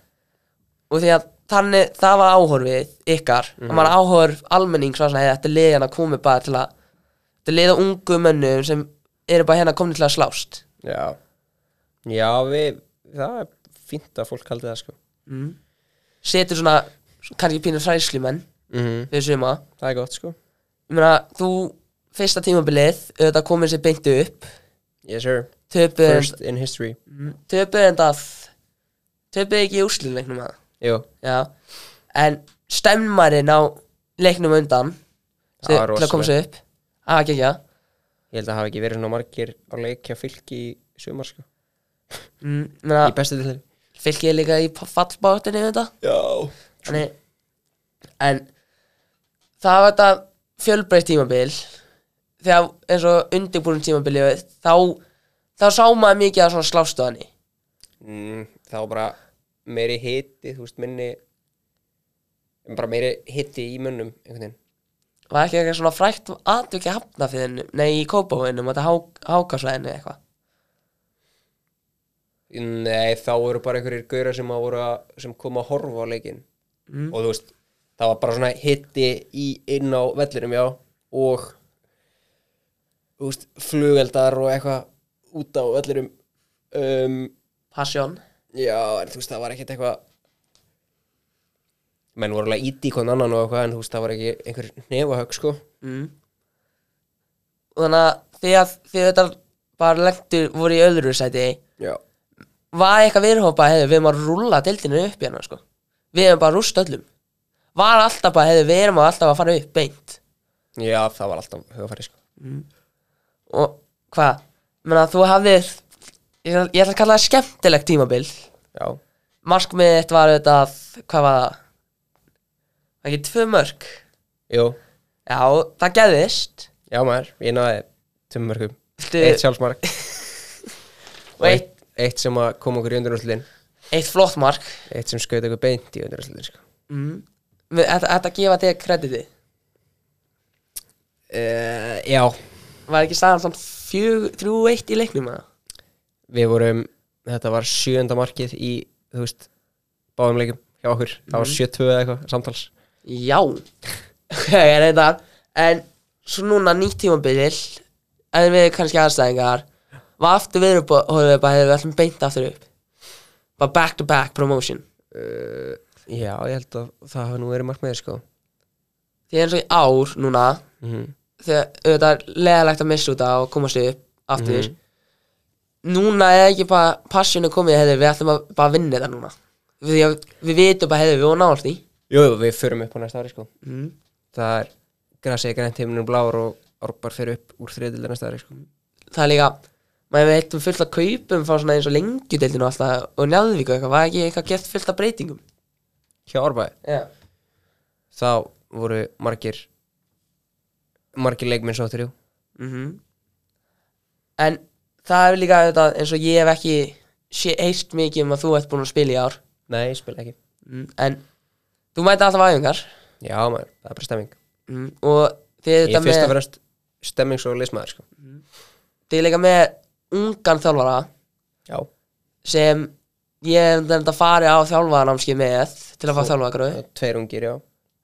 Speaker 4: og því að þannig, það var áhorfið ykkar,
Speaker 5: Mhm.
Speaker 4: það var áhorf almenning svona svona, "Hey, þetta er liðið hérna komið bara til að þetta er liðið á ungu mönnum sem eru bara hérna komni til að slást
Speaker 5: já Já, við, það er fínt að fólk kaldi það sko
Speaker 4: setur svona kannski pínur hræslumenn
Speaker 5: mm -hmm.
Speaker 4: fyrir suma
Speaker 5: það er gott sko
Speaker 4: ég meina þú fyrsta tímabilið auðvitað komið sér beintu upp
Speaker 5: yes sir,
Speaker 4: töpuð
Speaker 5: first in history
Speaker 4: töpuð enda töpuð ekki í úslinleiknum að
Speaker 5: jú,
Speaker 4: já en stemmarinn á leiknum á undan
Speaker 5: Það
Speaker 4: sem-
Speaker 5: var
Speaker 4: til að koma sér upp það var gekkja
Speaker 5: ég held að hafa ekki verið svona margir á leikja fylki í sumar sko
Speaker 4: mm, ég meina,
Speaker 5: í bestu til þeirri
Speaker 4: fylgið er líka í fallbáttinni þetta
Speaker 5: já,
Speaker 4: Þannig, en það var þetta fjölbreytt tímabil þegar eins og undirbúin tímabili þá, þá sá maður mikið að svona slástöðanni
Speaker 5: mm, þá bara meiri hiti, þú veist, minni bara meiri hiti í munnum einhvern veginn,
Speaker 4: var ekki eitthvað svona frækt aðvikið hafna fyrir hennu, nei í kópavöðinu þetta hák, hákasvæðinu eitthvað
Speaker 5: nei, þá voru bara einhverjir gaurar sem, að voru að, sem kom að horfa á leikin og þú veist, það var bara svona hiti í, inn á vellinum, já og þú veist, flugeldar og eitthvað út á vellinum um,
Speaker 4: passion,
Speaker 5: Já, en þú veist, það var ekkert eitthvað menn voru alveg íti í hvern annan og eitthvað en þú veist, það var ekki einhver nefahögg, sko
Speaker 4: og þannig að þegar, þegar þetta bara lengur voru í öðru sæti
Speaker 5: Já,
Speaker 4: var eitthvað viðhópa hefði við erum að rúlla deildinu upp hérna sko. við erum bara að rústa öllum var alltaf bara hefði við erum alltaf að fara upp beint
Speaker 5: það var alltaf hugafæri, sko
Speaker 4: og hvað, menna þú hafðir ég, ætla- ég ætla að kalla það skemmtilegt tímabil
Speaker 5: Já,
Speaker 4: markmiðið þitt var auðvitað að- hvað var það Var ekki tvö mörg
Speaker 5: jú,
Speaker 4: já, það geðist
Speaker 5: já maður, ég náði tummörkum
Speaker 4: Viltu-
Speaker 5: Eitt sjálfsmark
Speaker 4: og eitt,
Speaker 5: eitt sem að kom okkur í undurúslutin
Speaker 4: eitt flott mark
Speaker 5: Eitt sem skaut okkur beint í undurúslutin, sko
Speaker 4: Við- þetta þetta gefa þig krediti
Speaker 5: uh, Já,
Speaker 4: var ekki staðan samt fjög- 3-1 í leiknum eða?
Speaker 5: við vorum, þetta var sjönda markið í, þú veist, báðum leikum hjá okkur Það var 7-2 eða eitthvað, samtals
Speaker 4: já ég er þetta en svo núna nýtt tímabil en við kannski aðstæðingar var aftur við upp og við bara hefur allir beint aftur upp bara back to back promotion
Speaker 5: Já, ég held að það hafa nú verið markmiðið, sko
Speaker 4: því eins og í ár núna þegar auðvitað er leðalegt að missa út að komast upp aftur núna er ekki bara passjónu komið hefði við ætlum að bara vinna þetta núna því að við vitum bara hefði við og nált því
Speaker 5: Jú, jú, við förum upp á næsta ári sko Það er grasið grænt heiminu blár og árbar fyrir upp úr þriðildi næsta ári sko
Speaker 4: það er líka maður hefur heilt um fullt að kaupum frá svona eins og lengjudeildinu og alltaf og njálðvík og eitthvað var ekki eitthvað gert fullt af breytingum
Speaker 5: Hjá árbæði,
Speaker 4: yeah.
Speaker 5: þá voru margir margir leikminn svo þrjú Mhm.
Speaker 4: en það er líka auðvitað, eins og ég hef ekki sé eitt mikið um að þú ert búin að spila í ár
Speaker 5: Nei, ég spila ekki
Speaker 4: mm. en þú mæta alltaf aðjöngar
Speaker 5: Já, maður, það er bara stemming
Speaker 4: mm. og þið
Speaker 5: Mhm. Ég
Speaker 4: þetta
Speaker 5: er fyrst að
Speaker 4: með
Speaker 5: vera stemming svo leismæður sko
Speaker 4: þið er líka með ungan þjálfara
Speaker 5: Já,
Speaker 4: sem ég hef þetta farið á þjálfaranámski með til að fá þjálfaragröðu
Speaker 5: tveir ungir, já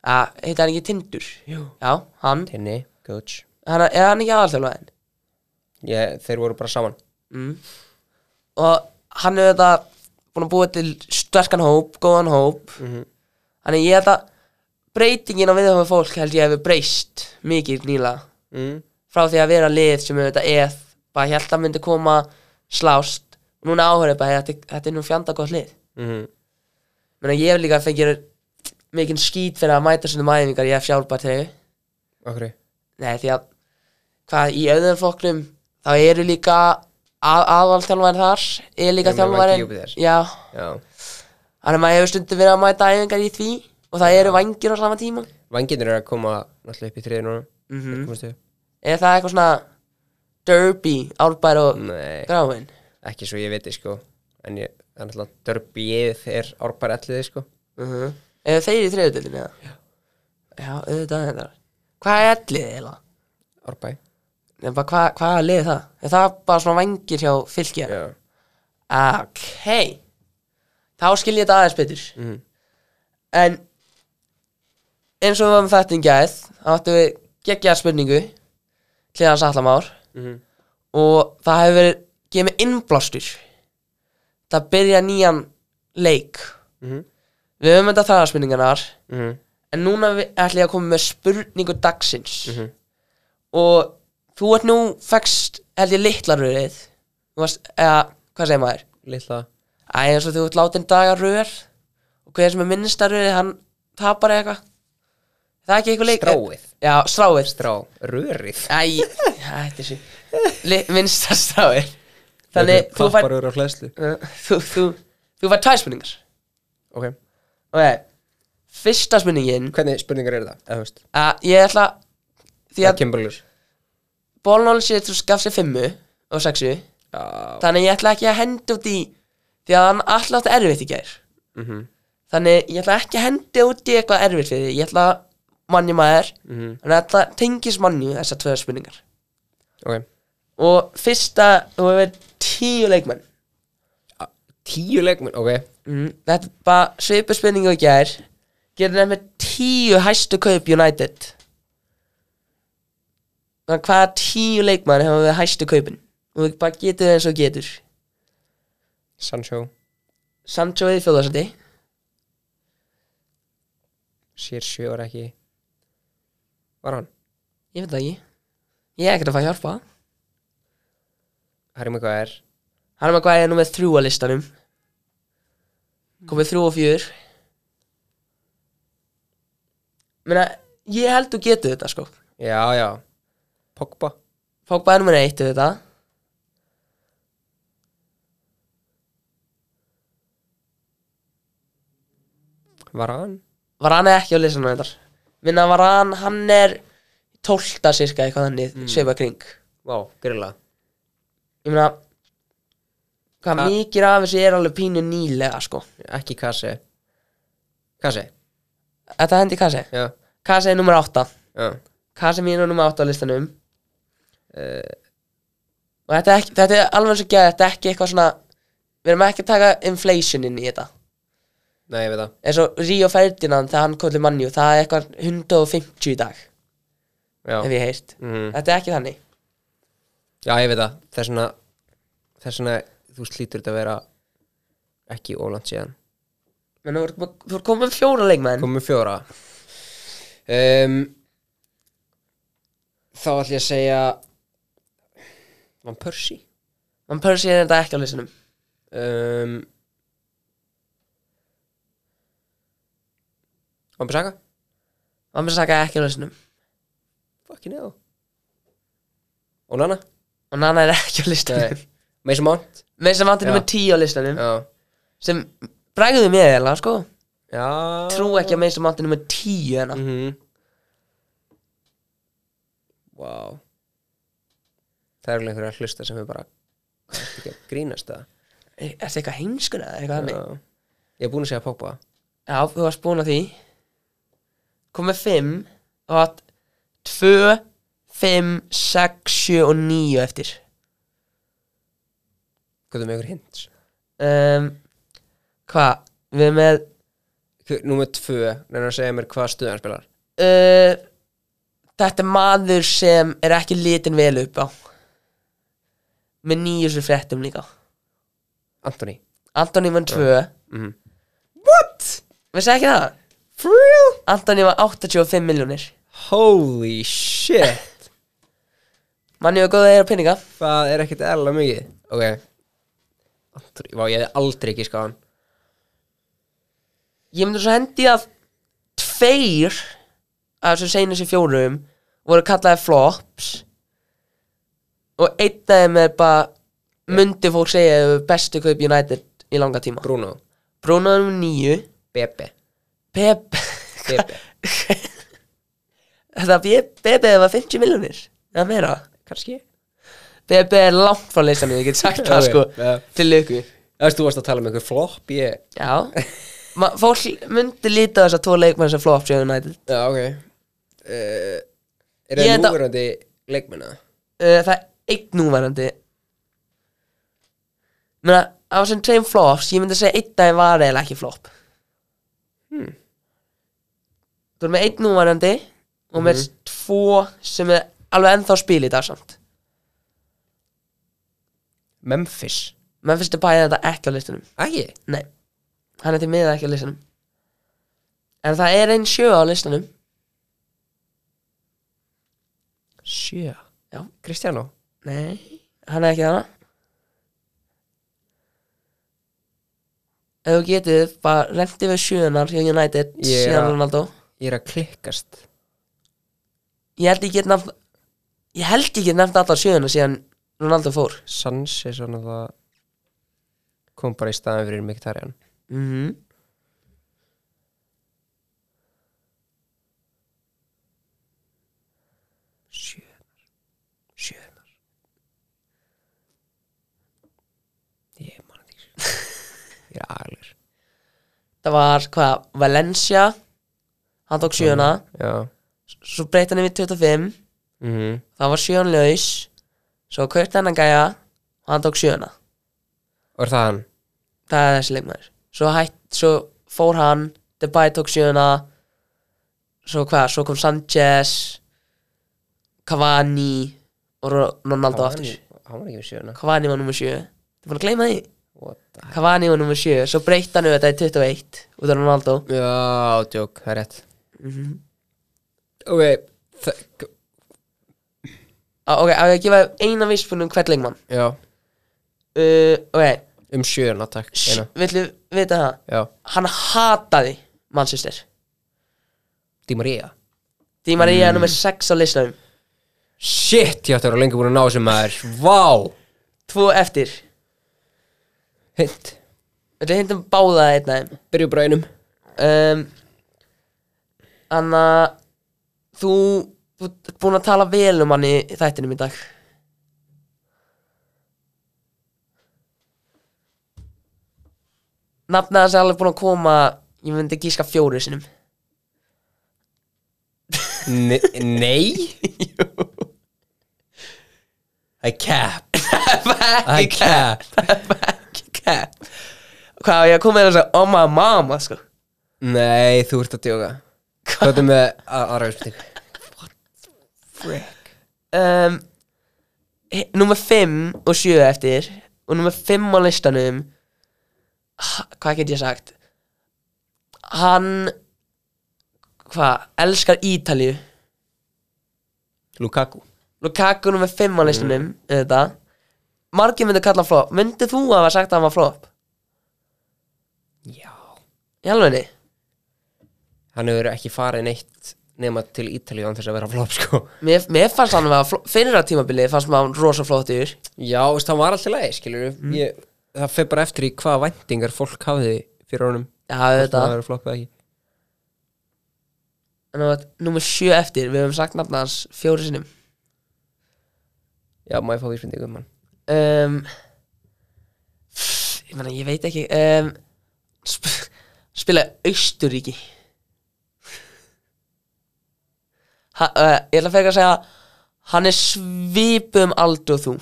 Speaker 4: að heita hann ekki Tindur Jú. já, hann,
Speaker 5: Tinni, coach
Speaker 4: hann er hann ekki aðalþjálfaðin
Speaker 5: ég, Þeir voru bara saman
Speaker 4: og hann er þetta búin að búa til sterkan hóp, góðan hóp þannig ég held að breytingin á viðhófum fólk held ég hefur breyst mikið nýla
Speaker 5: mm.
Speaker 4: frá því að vera lið sem þetta er bara held að myndi koma slást og núna áhörðu bara þetta, þetta er nú fjanda gott lið
Speaker 5: Mm.
Speaker 4: Menna, ég hef líka fengið mikinn skít fyrir að mæta svona um mæðingar ég hef sjálfbært þegar
Speaker 5: Okkur
Speaker 4: Nei, því að hvað, í öðrum flokknum þá eru líka að, aðvalþjálfari þar er líka
Speaker 5: Emil Vængi
Speaker 4: þjálfari
Speaker 5: Júpíters.
Speaker 4: Já,
Speaker 5: Já,
Speaker 4: þannig að maður hefur stundum verið að mæta æfingar í því og það eru vangir á sama tíma
Speaker 5: vanginir eru að koma náttúrulega upp í þriði núna mm -hmm.
Speaker 4: Er það eitthvað svona derby, árbær og
Speaker 5: Nei
Speaker 4: gráin?
Speaker 5: ekki svo ég viti sko en ég, það er náttúrulega dörbið er árbæri alliði sko
Speaker 4: Uh -huh. Eru þeir í þriðutöldinu eða? Já Já, auðvitað er þetta Hvað er ellið eða?
Speaker 5: árbæ
Speaker 4: Nei, bara hvað, hvað er liðið það? Er það bara svona vangir hjá fylgja?
Speaker 5: já,
Speaker 4: Ok Þá skil ég þetta aðeins betur
Speaker 5: Mhm.
Speaker 4: En eins og við varum þetta í gæð þá áttum við geggjaðar spurningu hliðan sallamár
Speaker 5: Mhm.
Speaker 4: og það hefur verið gefið innblástur það byrja nýjan leik
Speaker 5: Mhm.
Speaker 4: Við höfum þetta þaðarspurningarnar
Speaker 5: Mhm.
Speaker 4: En núna vi- ætla ég að koma með spurningu dagsins
Speaker 5: Mhm.
Speaker 4: Og þú ert nú fækst held ég litlaröðið Þú varst, eða, hvað segir maður?
Speaker 5: Lilla
Speaker 4: Æ, eins og þú ert látin dagaröður Og hver sem er minnstaröðið, hann tapar eða eitthvað Það er ekki eitthvað leik
Speaker 5: Stráið.
Speaker 4: Já, stráið
Speaker 5: Strá Rörið
Speaker 4: Æ, þetta er sér Minnstarstráið Þannig, þú fær Eh,
Speaker 5: Klapparur á hlæslu
Speaker 4: þú, þú, þú fær tvær spurningar
Speaker 5: Ok
Speaker 4: Ok, fyrsta spurningin
Speaker 5: Hvernig spurningar eru það? Eða þú veist
Speaker 4: að ég ætla því
Speaker 5: Það
Speaker 4: að
Speaker 5: kemur ljós
Speaker 4: bólnólis ég þú gaf sér fimmu og sexu
Speaker 5: Já
Speaker 4: þannig ég ætla ekki að henda út í því að hann alltaf átti erfitt í gær
Speaker 5: Mhm.
Speaker 4: þannig ég ætla ekki að henda út í eitthvað erfitt fyrir því ég ætla að manni maður
Speaker 5: Mhm.
Speaker 4: þannig að það tengis manni þessar tvö spurningar
Speaker 5: Ok
Speaker 4: og fyrsta, þú hefur tíu leikmenn
Speaker 5: Tíu leikmenn Ok
Speaker 4: mm, þetta er bara svipu spurningu í gær gerir nefnir tíu hæstu kaup United þannig hvaða tíu leikmann hefur við hæstu kaupin og við bara getur eins og getur
Speaker 5: Sancho
Speaker 4: Sancho eða fjóðarsandi
Speaker 5: Sér sjö var ekki Var hann?
Speaker 4: ég veit það ekki ég er ekkert að fá hjálpa
Speaker 5: Harry Maguire
Speaker 4: hann er með hvað ég er nú með þrjú að listanum komið þrjú og fjör menna ég held þú getur þetta sko
Speaker 5: Já, já Pogba
Speaker 4: Pogba er nummer eitt við þetta
Speaker 5: Var hann?
Speaker 4: Varan er ekki á listanum þetta Minna Varan, hann er 12. cirka eitthvað þannig, mm. sveipa kring
Speaker 5: Vá, grilla
Speaker 4: Ég meina Hvað
Speaker 5: Ha-
Speaker 4: mikið af þessu er alveg pínu nýlega sko
Speaker 5: Ekki Kase Kase,
Speaker 4: Þetta hendi Kase
Speaker 5: já,
Speaker 4: Kase er nummer 8
Speaker 5: já
Speaker 4: Kase mín er nummer 8 á listanum
Speaker 5: Eh.
Speaker 4: Og þetta er, ekki, þetta er alveg eins og geða Þetta er ekki eitthvað svona Við erum ekki að taka inflation inn í þetta
Speaker 5: Nei, ég veit það
Speaker 4: eins og Ríó Ferdinand þegar hann kollir mannjú Það er eitthvað 150 í dag Hef
Speaker 5: Já,
Speaker 4: ég heyrt
Speaker 5: Mhm.
Speaker 4: Þetta er ekki þannig
Speaker 5: já ég veit það Þess vegna Þess vegna Þú slítur þetta að vera Ekki ólant síðan
Speaker 4: Menna, þú ert- þú ert komið fjóra leikmenn
Speaker 5: Komum með fjóra um, Þá ætlum ég að segja Van Persie
Speaker 4: Van Persie er þetta ekki á listanum
Speaker 5: um, Van Bissaka
Speaker 4: Van Bissaka er ekki á listanum
Speaker 5: Fucking hell Onana
Speaker 4: og Nana er ekki á
Speaker 5: Nei
Speaker 4: listanum
Speaker 5: Mason Mount
Speaker 4: með sem áttir
Speaker 5: Já.
Speaker 4: nummer 10 á listanum
Speaker 5: Já
Speaker 4: sem bregðuði mér eða sko
Speaker 5: Já
Speaker 4: trú ekki að með sem áttir nummer hérna. 10 hennar
Speaker 5: mm -hmm. Wow Það eru einhverja að hlusta sem er bara "Hvað ertu ekki að grínast það
Speaker 4: er þetta eitthvað heimskun eða eitthvað þannig
Speaker 5: Já. Ég er búin að segja Pogba
Speaker 4: já, þú varst búin að því kom með 5 og hatt 2, 5, 6, 7 og 9 eftir
Speaker 5: Hvað er með ykkur hint?
Speaker 4: um, hvað, við erum með
Speaker 5: Númer tvö, reyna að segja mér hvað stuð hann spilar
Speaker 4: uh, þetta er maður sem er ekki litin vel upp á með nýjur sem fréttum líka
Speaker 5: Anthony
Speaker 4: Antoni var 2
Speaker 5: Mhm.
Speaker 4: What? Vissi ekki það? For real? Antoni var 85 miljónir
Speaker 5: Holy shit
Speaker 4: Manni var góða eða peninga
Speaker 5: Það er ekkert erla mikið Ok Anthony, vá ég hefði aldrei ekki skáðan
Speaker 4: sko. Ég myndi svo hendi að Tveir Af þessum seinu sem fjórum Voru kallaði flops Og einn af þeim er bara Mundi fólk segja eru bestu kaup United Í langa tíma
Speaker 5: Bruno
Speaker 4: Bruno er um nýju
Speaker 5: Bebe
Speaker 4: Pep
Speaker 5: Bebe
Speaker 4: Þetta Bebe var 50 miljónir Eða meira
Speaker 5: Kanski
Speaker 4: Bebe er langt frá leysanum, ég get sagt það
Speaker 5: Ok,
Speaker 4: sko
Speaker 5: já.
Speaker 4: Til ykkur
Speaker 5: Það veist, þú varst að tala um einhver flop Ég
Speaker 4: Já Ma, Fólk myndi líta á þess að tvo leikmenn sem flops hjá United
Speaker 5: Já, ok uh,
Speaker 4: Ég
Speaker 5: Er það
Speaker 4: enda-
Speaker 5: núverandi leikmenna?
Speaker 4: uh, Það er einn núverandi Menna, á þessum tveim flops Ég myndi segja einn að það var eiginlega ekki flop hmm. Þú er með einn núverandi Og með tvo sem er alveg ennþá spil í dag samt
Speaker 5: Memphis
Speaker 4: Menn finnst þetta bæðið þetta ekki á listunum
Speaker 5: Ægji?
Speaker 4: Nei hann er til miða ekki á listanum en það er einn sjö á listanum
Speaker 5: Sjö
Speaker 4: Já.
Speaker 5: Kristjánó
Speaker 4: nei, hann er ekki þarna ef þú getið bara reyndi við sjöunar hjá United
Speaker 5: Ég er
Speaker 4: síðan
Speaker 5: að-
Speaker 4: Ronaldo
Speaker 5: Ég er að klikkast
Speaker 4: ég held ég get nefnt ég held ég get nefnt allar sjöunar síðan Ronaldo fór
Speaker 5: Sansi svona það kom bara í staðan fyrir Mkhitaryan
Speaker 4: mhm
Speaker 5: Sjönar Sjönar Ég man þetta ekki Ég er aðlir
Speaker 4: það var hvað, Valencia hann tók sjöuna
Speaker 5: Já
Speaker 4: svo breytti hann yfir 25
Speaker 5: mm
Speaker 4: það var sjöun laus svo kaupti hann að gæja og hann tók sjöuna
Speaker 5: Og er það hann?
Speaker 4: það er þessi leikmaður svo, hætt, svo fór hann Debye tók sjöuna svo hvað, svo kom Sanchez Cavani og Ro- Ronaldo
Speaker 5: Hann var
Speaker 4: aftur
Speaker 5: ekki- Hann var ekki með sjöna
Speaker 4: Cavani var nummer 7 þið búin að gleyma því
Speaker 5: What the heck
Speaker 4: Cavani var nummer 7, svo breytti hann yfir þetta í 21 út af Ronaldo
Speaker 5: Já, djók, það er rétt Mhm. Ok það-
Speaker 4: Á, Ah, ok, á ég að gefa þér eina vísbunum hvern leikmann
Speaker 5: Já,
Speaker 4: uh, ok,
Speaker 5: um sjöna, takk
Speaker 4: sh-
Speaker 5: Eina.
Speaker 4: villu vita það
Speaker 5: Já,
Speaker 4: hann hataði Manchester
Speaker 5: Di Maria
Speaker 4: Di Maria er nummer 6 á listanum
Speaker 5: Shit, ég ætti að vera lengi búin að ná sem maður Vá
Speaker 4: tvo eftir,
Speaker 5: Hint
Speaker 4: villu hindum báða einn af
Speaker 5: Byrju bara einum
Speaker 4: þeim um, Anna þú þú ert búin að tala vel um hann í þættinum í dag nafnið hans er alveg búin að koma ég myndi gíska fjóru sinum
Speaker 5: Ne nei I cap I cap
Speaker 4: hvað, ég kom með þess að oh my mama sko
Speaker 5: Nei, þú ert að djóka Hvað er með að- aðra spurning?
Speaker 4: um, he- Númer 5 og 7 eftir Og númer 5 á listanum h- Hvað get ég sagt Hann Hvað, elskar Ítalju
Speaker 5: Lukaku
Speaker 4: Lukaku númer 5 á listanum mm. Þetta Margir myndi kalla hann flop Myndi þú hafa sagt að hann var flop?
Speaker 5: Já
Speaker 4: Í alvegni?
Speaker 5: Hann hefur ekki farið neitt nema til Ítalíu án þess að vera flop sko
Speaker 4: Mér, mér fannst hann að vera flop Fyrir að tímabilið fannst maður hann rosa flottur
Speaker 5: Já, veist, hann var alltaf leið, skilur ég, Það fer bara eftir í hvaða væntingar fólk hafði fyrir honum
Speaker 4: Já,
Speaker 5: Hvort
Speaker 4: þetta
Speaker 5: hann hafi verið flopp eða ekki
Speaker 4: Númer 7 eftir Við höfum sagt nafna hans fjóri sinnum
Speaker 5: Já, má ég fá vísbendingu um hann
Speaker 4: um, ég meina, ég veit ekki um, sp spila Austuríki ha, uh, ég ætla að fækka að segja hann er svipum aldur og þú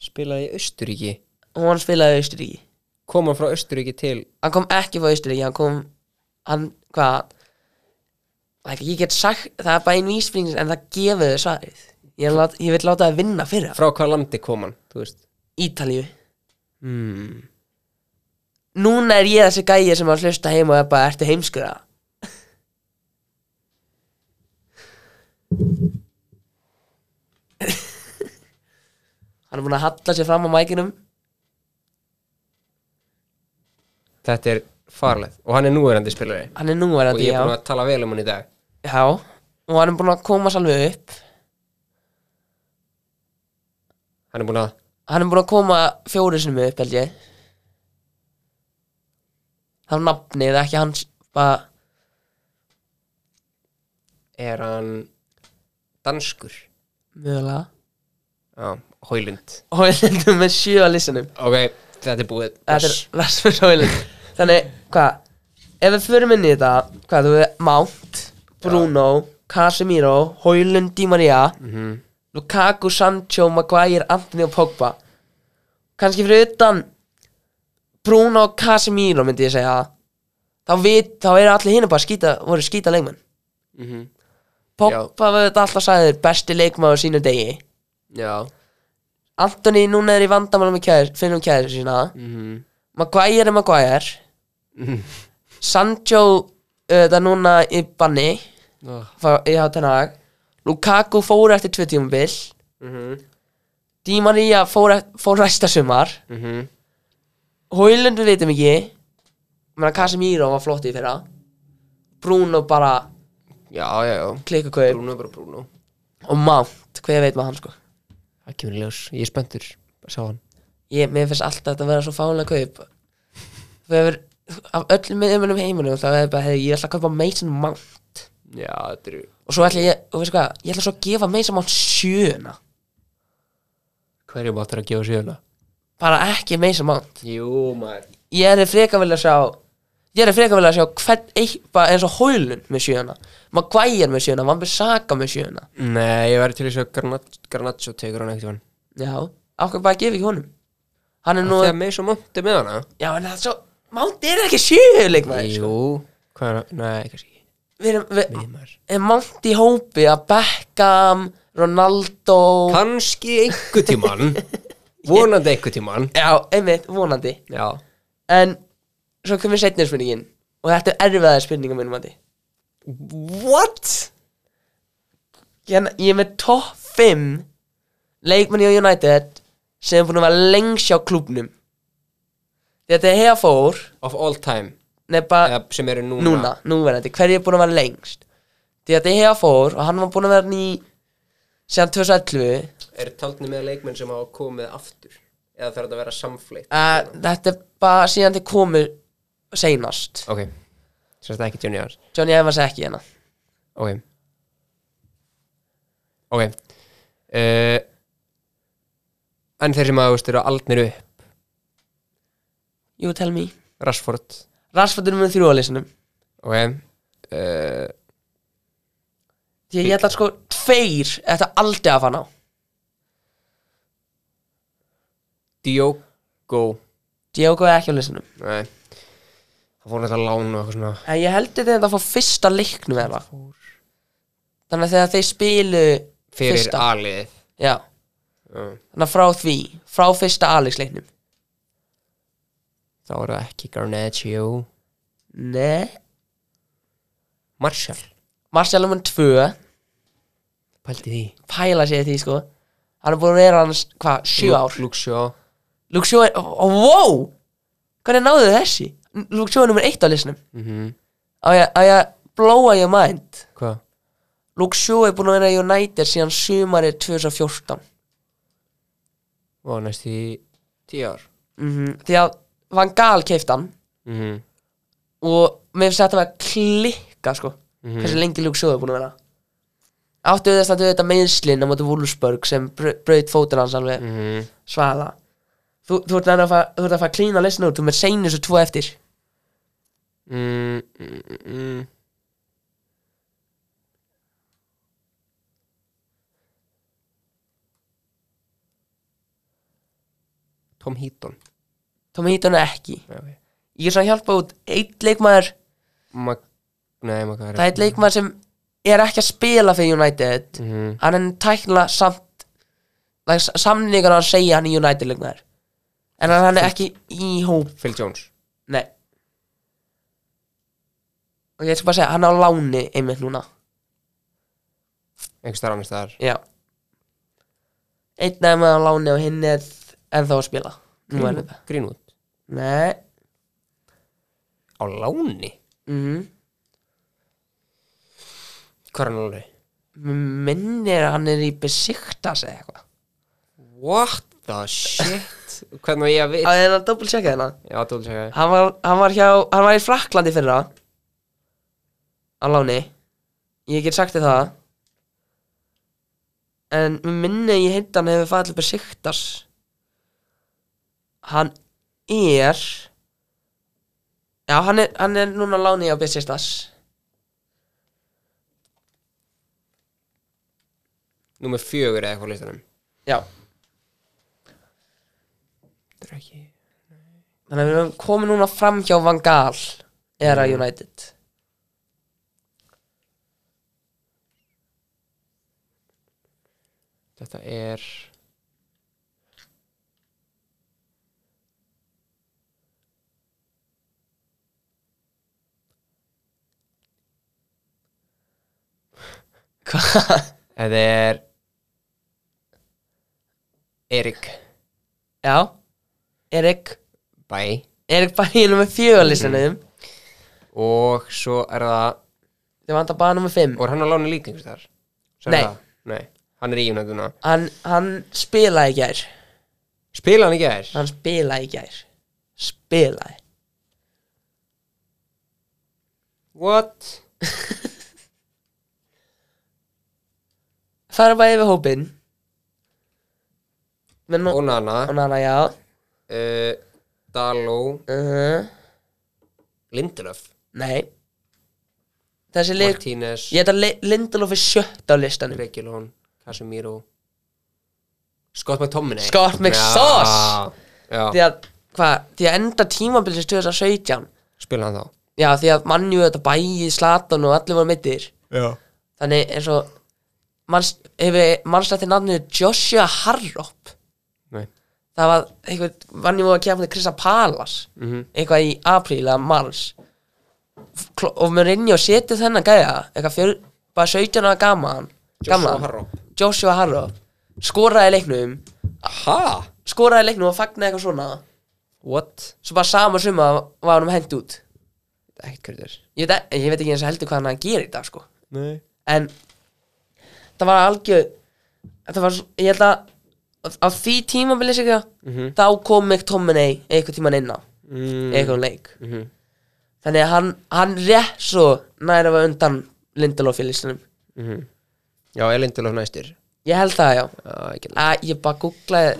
Speaker 5: Spilaði í Östuríki
Speaker 4: og hann spilaði Austuríki
Speaker 5: Kom hann frá Östuríki til
Speaker 4: hann kom ekki frá Austuríki hann kom, hann, hvað like, ég get sagt, það er bara einn vísbringis en það gefur þau svarið ég, lát, ég vil láta það vinna fyrir hann
Speaker 5: Frá hvaða landi kom hann, þú veist
Speaker 4: Ítalíu
Speaker 5: mm.
Speaker 4: núna er ég þessi gæi sem að hlusta heim og er bara, ertu heimskura? Hann er búinn að halla sér fram á mækinum
Speaker 5: Þetta er farleð Og hann er núverandi spilari
Speaker 4: Hann er
Speaker 5: Og
Speaker 4: núverandi,
Speaker 5: ég er
Speaker 4: já
Speaker 5: búin að tala vel um hann í dag
Speaker 4: Já, og hann er búinn að koma alveg upp
Speaker 5: Hann er búin að
Speaker 4: Hann er búinn að koma fjóri sinni upp, held ég Það er nafnið, ekki hans bara,
Speaker 5: Er hann danskur?
Speaker 4: mögulega
Speaker 5: Já, Hóilund
Speaker 4: Og við lindum með sjö að listanum
Speaker 5: Ok, þetta er búið
Speaker 4: Þetta er Rasmus Hólin Þannig, hvað Ef við förum inn í þetta Hvað, þú veist, Mount, Bruno, Casemiro Hólund, Di Maria
Speaker 5: Mhm.
Speaker 4: Lukaku, Sancho, Maguire, Anthony og Pogba Kanski fyrir utan Bruno og Casemiro myndi ég segja Þá, vit, þá eru allir hinn bara skýta, voru skýta leikmenn
Speaker 5: Mhm.
Speaker 4: Pogba var þetta alltaf sagður besti leikmaður á sínu degi
Speaker 5: Já
Speaker 4: Antoni núna er í vandamálum með kæður, finnum kæður sína
Speaker 5: Mhm.
Speaker 4: Maguire er Maguire Sancho uh, það er núna í banni
Speaker 5: Oh.
Speaker 4: fá- í hátanag Lukaku fór eftir tvö tímabil
Speaker 5: Mhm.
Speaker 4: Di Maria fór, eft- fór næsta sumar mm
Speaker 5: Mhm.
Speaker 4: Hoylund við vitum ekki Menna Casemiro var flott í fyrra Bruno bara
Speaker 5: Já, já, já
Speaker 4: klikku kaup
Speaker 5: Bruno er bara Bruno
Speaker 4: og Mount, hver veit maður hann sko
Speaker 5: Það kemur í ljós, ég er spenntur að sjá hann
Speaker 4: ég, mér finnst alltaf þetta að vera svo fáinlega kaup þú hefur af öllum miðjumunum í heiminum þá hefur bara, hey, ég ætla að kaupa Mason Mount
Speaker 5: Já, þetta eru
Speaker 4: og svo ætla ég, og veistu hvað, ég ætla svo að gefa Mason Mount sjöuna
Speaker 5: Hverju máttur að gefa hérna? sjöuna?
Speaker 4: bara ekki Mason Mount
Speaker 5: Jú, maður
Speaker 4: ég er freka vilja sjá ég er freka vilja sjá hvern eitthvað eins og Hólund með sjöuna Maguire með sjöuna, Van Bissaka með sjöuna
Speaker 5: Nei, ég væri til þess að Garnaccio Garnaccio tekur hann ekkert hann
Speaker 4: já, ákveð bara að gefa ekki honum hann er nú,
Speaker 5: Þegar með svo monti með hana
Speaker 4: já en það er svo Mount er ekki sjöuleik við
Speaker 5: Jú, hvað er hann? Nei, kannski ekki
Speaker 4: erum, við,
Speaker 5: Nei, maður
Speaker 4: er mangt í hópi að Beckham, Ronaldo
Speaker 5: Kannski einhver tíman Vonandi einhver tíman
Speaker 4: Já, einmitt, vonandi
Speaker 5: Já
Speaker 4: En svo kemur setnir spurningin Og þetta er erfiðaði spurninga minnum að
Speaker 5: What?
Speaker 4: Hérna, ég er með topp 5 Leikmanni á United Sem er búin að vera lengst hjá klúbnum Þetta er hea fór
Speaker 5: Of all time
Speaker 4: Nefna
Speaker 5: Eða sem eru núna
Speaker 4: núna, núverandi, hverju er búin að vera lengst Því að þetta hea fór Og hann var búin að vera ný Síðan 2011
Speaker 5: Er taldni með leikmenn sem hafa komið aftur Eða þarf þetta að vera samfleitt
Speaker 4: uh, Þetta er bara síðan til komu Seinast
Speaker 5: Ok Svo þetta er ekki Johnny Evans
Speaker 4: Johnny Evans er ekki hérna
Speaker 5: Ok Ok uh, En þeir sem að þú veist eru aldnir upp
Speaker 4: You tell me
Speaker 5: Rashford
Speaker 4: Rashford er með þrjú á listanum
Speaker 5: Ok uh,
Speaker 4: Því að ég ætla sko tveir Þetta aldrei að fann á
Speaker 5: Diogo
Speaker 4: Diogo er ekki á listanum
Speaker 5: Nei Það fór náttúrulega lán og eitthvað svona
Speaker 4: En ég heldur þetta að fá fyrsta leiknum eða Þannig að þegar þeir spilu
Speaker 5: Fyrir
Speaker 4: fyrsta
Speaker 5: aliðið
Speaker 4: Já
Speaker 5: uh,
Speaker 4: Þannig að frá því Frá fyrsta Alex leiknum
Speaker 5: Þá er það ekki Garnaccio
Speaker 4: Nei
Speaker 5: Marshall
Speaker 4: Marcel Lumen 2
Speaker 5: Pældi því
Speaker 4: Pæla sér því sko Hann er búin að vera hans Hvað? 7
Speaker 5: Luke-
Speaker 4: ár
Speaker 5: Luke Shaw
Speaker 4: Luke Shaw er oh, oh, Wow Hvernig náðu þessi? Luke Shaw er nummer 1 á listanum
Speaker 5: mm -hmm.
Speaker 4: Á ég á ég að blowa your mind
Speaker 5: Hvað?
Speaker 4: Luke Shaw er búin að vera í United síðan sumarið 2014
Speaker 5: Vá, næst í tíu ár
Speaker 4: mm Því að Van Gaal keifti hann
Speaker 5: mm -hmm.
Speaker 4: og mér finnst þetta að vera klikka sko hversu lengi Luke Shaw er búin að vera Áttu þess að þetta meðslinn á móti Wolfsburg sem br braut fótinn hans alveg mm
Speaker 5: Mhm.
Speaker 4: svala Þú, þú ert nærmast að fara- þú ert að fara að klína lesna út þú með seinir svo tvo eftir
Speaker 5: mm, mm, mm, mm. Tom Heaton
Speaker 4: Tommy Heaton er ekki
Speaker 5: okay.
Speaker 4: Ég er svona að hjálpa út eitt leikmaður
Speaker 5: Mag Nei, maður hvað
Speaker 4: það er eitt leikmaður sem er ekki að spila fyrir United
Speaker 5: Mhm.
Speaker 4: hann er tæknilega samt like, samningar að segja hann í United leikmaður en hann er ekki í hóp
Speaker 5: Phil Jones
Speaker 4: Nei Og ég ætla bara að segja, hann er á láni einmitt núna
Speaker 5: Einhvers þar annars þar
Speaker 4: Já Einn af þeim er á láni og hinn er ennþá að spila Nú er þetta
Speaker 5: Greenwood
Speaker 4: Nei
Speaker 5: Á láni?
Speaker 4: mm
Speaker 5: Hvað er hann alveg?
Speaker 4: Minnir að hann er í besiktas eða eitthvað
Speaker 5: What the shit? Hvernig var ég að
Speaker 4: Það
Speaker 5: veit?
Speaker 4: er hann að doppel checka hérna
Speaker 5: Já, þú vil segja
Speaker 4: hann var, hann var hjá, hann var í Fraklandi fyrir það Á láni Ég get sagt þér það En minni ég heita hann hefur farið til besiktas Hann er Já, hann er, hann er núna á láni á besiktas
Speaker 5: Númer fjögur eða eitthvað á listanum
Speaker 4: Já,
Speaker 5: Þetta er ekki
Speaker 4: þannig að við erum komin núna fram hjá Van Gaal Era
Speaker 5: Mm.
Speaker 4: United
Speaker 5: Þetta er
Speaker 4: Hvað?
Speaker 5: Þetta er Erik
Speaker 4: Já, Erik
Speaker 5: Bæ
Speaker 4: Erik bæði nummer fjögur listanum
Speaker 5: Og svo er það
Speaker 4: Þið vantar bara nummer fimm
Speaker 5: Og er hann á láni líka einhvers þar?
Speaker 4: Nei.
Speaker 5: Nei, hann er í United-una
Speaker 4: Hann, hann spilaði í gær
Speaker 5: Spila hann ekki þær?
Speaker 4: Hann spilaði í gær Spilaði
Speaker 5: What?
Speaker 4: Fara bara yfir hópinn Men nú
Speaker 5: Onana
Speaker 4: Og nana, já
Speaker 5: uh, Daló
Speaker 4: uh -huh.
Speaker 5: Lindelöf
Speaker 4: Nei Þessi leik
Speaker 5: Martínez
Speaker 4: Ég heit að Lindelof er sjött á listanum
Speaker 5: Regjulón Casemiro Scott McTominay
Speaker 4: Scott McSauce!
Speaker 5: Já,
Speaker 4: Því
Speaker 5: já.
Speaker 4: að, hvað, því að enda tímabilsins 2017
Speaker 5: spila hann þá
Speaker 4: Já, því að mannjú þetta bæði Slatan og allir voru mittir
Speaker 5: Já
Speaker 4: Þannig eins og manst, hefur mannstætti nafnið Joshua Harrop
Speaker 5: Nei
Speaker 4: það var einhver, vann ég múið að kemja Krista Palas,
Speaker 5: Mhm.
Speaker 4: eitthvað í apríl eða mars Kl- og mér inn í og setið þennan gæja eitthvað fjör, bara 17 ára gaman
Speaker 5: Joshua
Speaker 4: gamlan,
Speaker 5: Harrop.
Speaker 4: Joshua Harrop skoraði í leiknum
Speaker 5: Ha?
Speaker 4: skoraði í leiknum og fagnaði eitthvað svona
Speaker 5: What?
Speaker 4: svo bara sama suma var hann hend út
Speaker 5: Ekkert kjörður
Speaker 4: ég veit, e, ég veit ekki eins og heldur hvað hann gerir í dag sko
Speaker 5: Nei
Speaker 4: en það var algjör það var, svo- ég held að á því tímabili sig
Speaker 5: Mhm.
Speaker 4: þá kom McTominay einhvern tíman inn á
Speaker 5: mm.
Speaker 4: í einhvern leik
Speaker 5: Mhm.
Speaker 4: þannig að hann, hann rétt svo næra var undan Lindelof í listanum
Speaker 5: Já, er Lindelöf næstur
Speaker 4: ég held það já
Speaker 5: Já, ekki
Speaker 4: að ég bara googlaði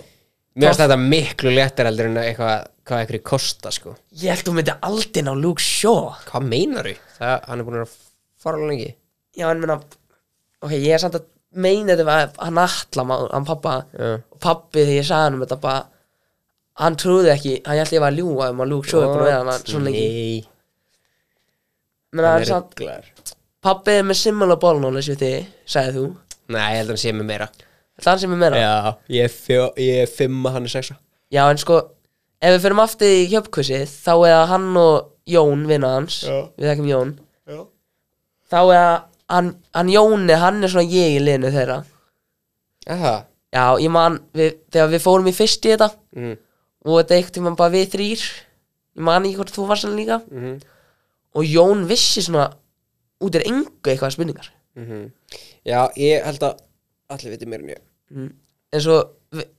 Speaker 5: Mér finnst þetta miklu léttar heldur en eitthvað hvað eitthvað kosta sko
Speaker 4: ég held þú myndi aldrei ná Luke Shaw
Speaker 5: Hvað meinar þú? Það, hann er búin að fara alveg lengi
Speaker 4: já en minna ok ég er samt að meina þetta var hann atla maður, hann pappa
Speaker 5: Já.
Speaker 4: og pappi þegar ég sagði hann um þetta bara hann trúði ekki, hann held ég var að ljúga um að Luke Shaw er búin að vera hann svona lengi
Speaker 5: Nei,
Speaker 4: menn
Speaker 5: hann
Speaker 4: hann
Speaker 5: er
Speaker 4: samt
Speaker 5: rugglar
Speaker 4: Pappið er með similar ball knowledge við þig, sagði þú
Speaker 5: Nei, ég held að hann sé með meira
Speaker 4: Það er hann sem er meira
Speaker 5: Já, ég er, fjó, ég er fimma, hann er sexa
Speaker 4: Já, en sko, ef við fyrir aftur í hjöpkvissi Þá er það hann og Jón, vinna hans
Speaker 5: Já.
Speaker 4: Við þekkjum Jón
Speaker 5: Já.
Speaker 4: Þá er það, hann, hann Jóni, hann er svona ég í liðinu þeirra
Speaker 5: Aha
Speaker 4: Já, ég man, við, þegar við fórum í fyrst í þetta
Speaker 5: mm.
Speaker 4: Og þetta eitt tímann bara við þrýr Ég man ekki hvort þú varst hann líka
Speaker 5: Mhm.
Speaker 4: Og Jón vissi svona Út er engu eitthvað spurningar
Speaker 5: Já, ég held að allir viti meira en ég
Speaker 4: eins og,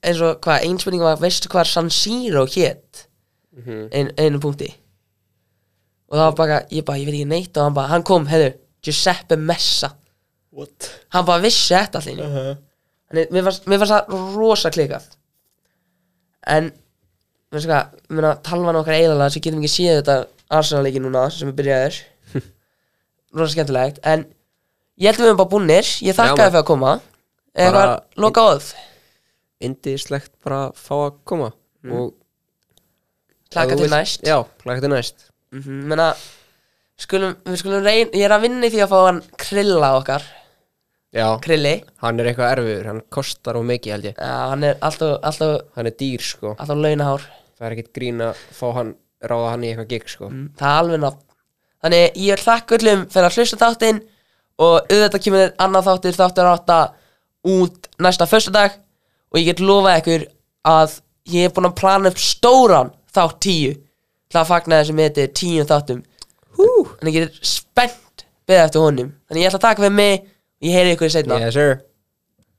Speaker 4: eins og hvað, einspurning var veistu hvað San Siro hét
Speaker 5: Mhm.
Speaker 4: ein, einu punkti og það var bara, ég bara, ég veit ekki neitt og hann bara, hann kom, heyrðu, Giuseppe Messa
Speaker 5: What?
Speaker 4: hann bara vissi þetta allir uh
Speaker 5: Uh-huh.
Speaker 4: -huh. mér fannst mér fannst það rosa klikað en veistu hvað, ég meina, talvan okkar eiginlega sem getum ekki séð þetta Arsenal-leiki núna sem er byrjaður rosa skemmtilegt, en ég held að við höfum bara búnir, ég
Speaker 5: Já,
Speaker 4: þakkaði
Speaker 5: maður.
Speaker 4: fyrir að koma eitthvað,
Speaker 5: Bara-
Speaker 4: loka óð
Speaker 5: Indislegt bara að fá að koma og
Speaker 4: Klaka
Speaker 5: ef þú
Speaker 4: til
Speaker 5: vilt-
Speaker 4: næst
Speaker 5: Já, klaka til næst
Speaker 4: Mhm, menna skulum, við skulum reyna, ég er að vinna í því að fá hann krilla okkar,
Speaker 5: Já,
Speaker 4: krilli
Speaker 5: hann er eitthvað erfiður, hann kostar og mikið held ég
Speaker 4: já, hann er alltaf, alltaf,
Speaker 5: Hann er dýr sko,
Speaker 4: alltaf launahár
Speaker 5: það er ekkit grín að fá hann, ráða hann í eitthvað gig sko
Speaker 4: Mm, það er alveg nafn þannig ég vil þakka öllum fyrir að hlusta á þáttinn og auðvitað kemur annar þáttur þáttur átta út næsta föstudag og ég get lofað ykkur að ég er búin að plana upp stóran þátt tíu til að fagna þessi með þetta tíu þáttum Hú. en ég get spennt beðið eftir honum þannig ég ætla að taka fyrir mig og ég heyri ykkur setna
Speaker 5: Yes sir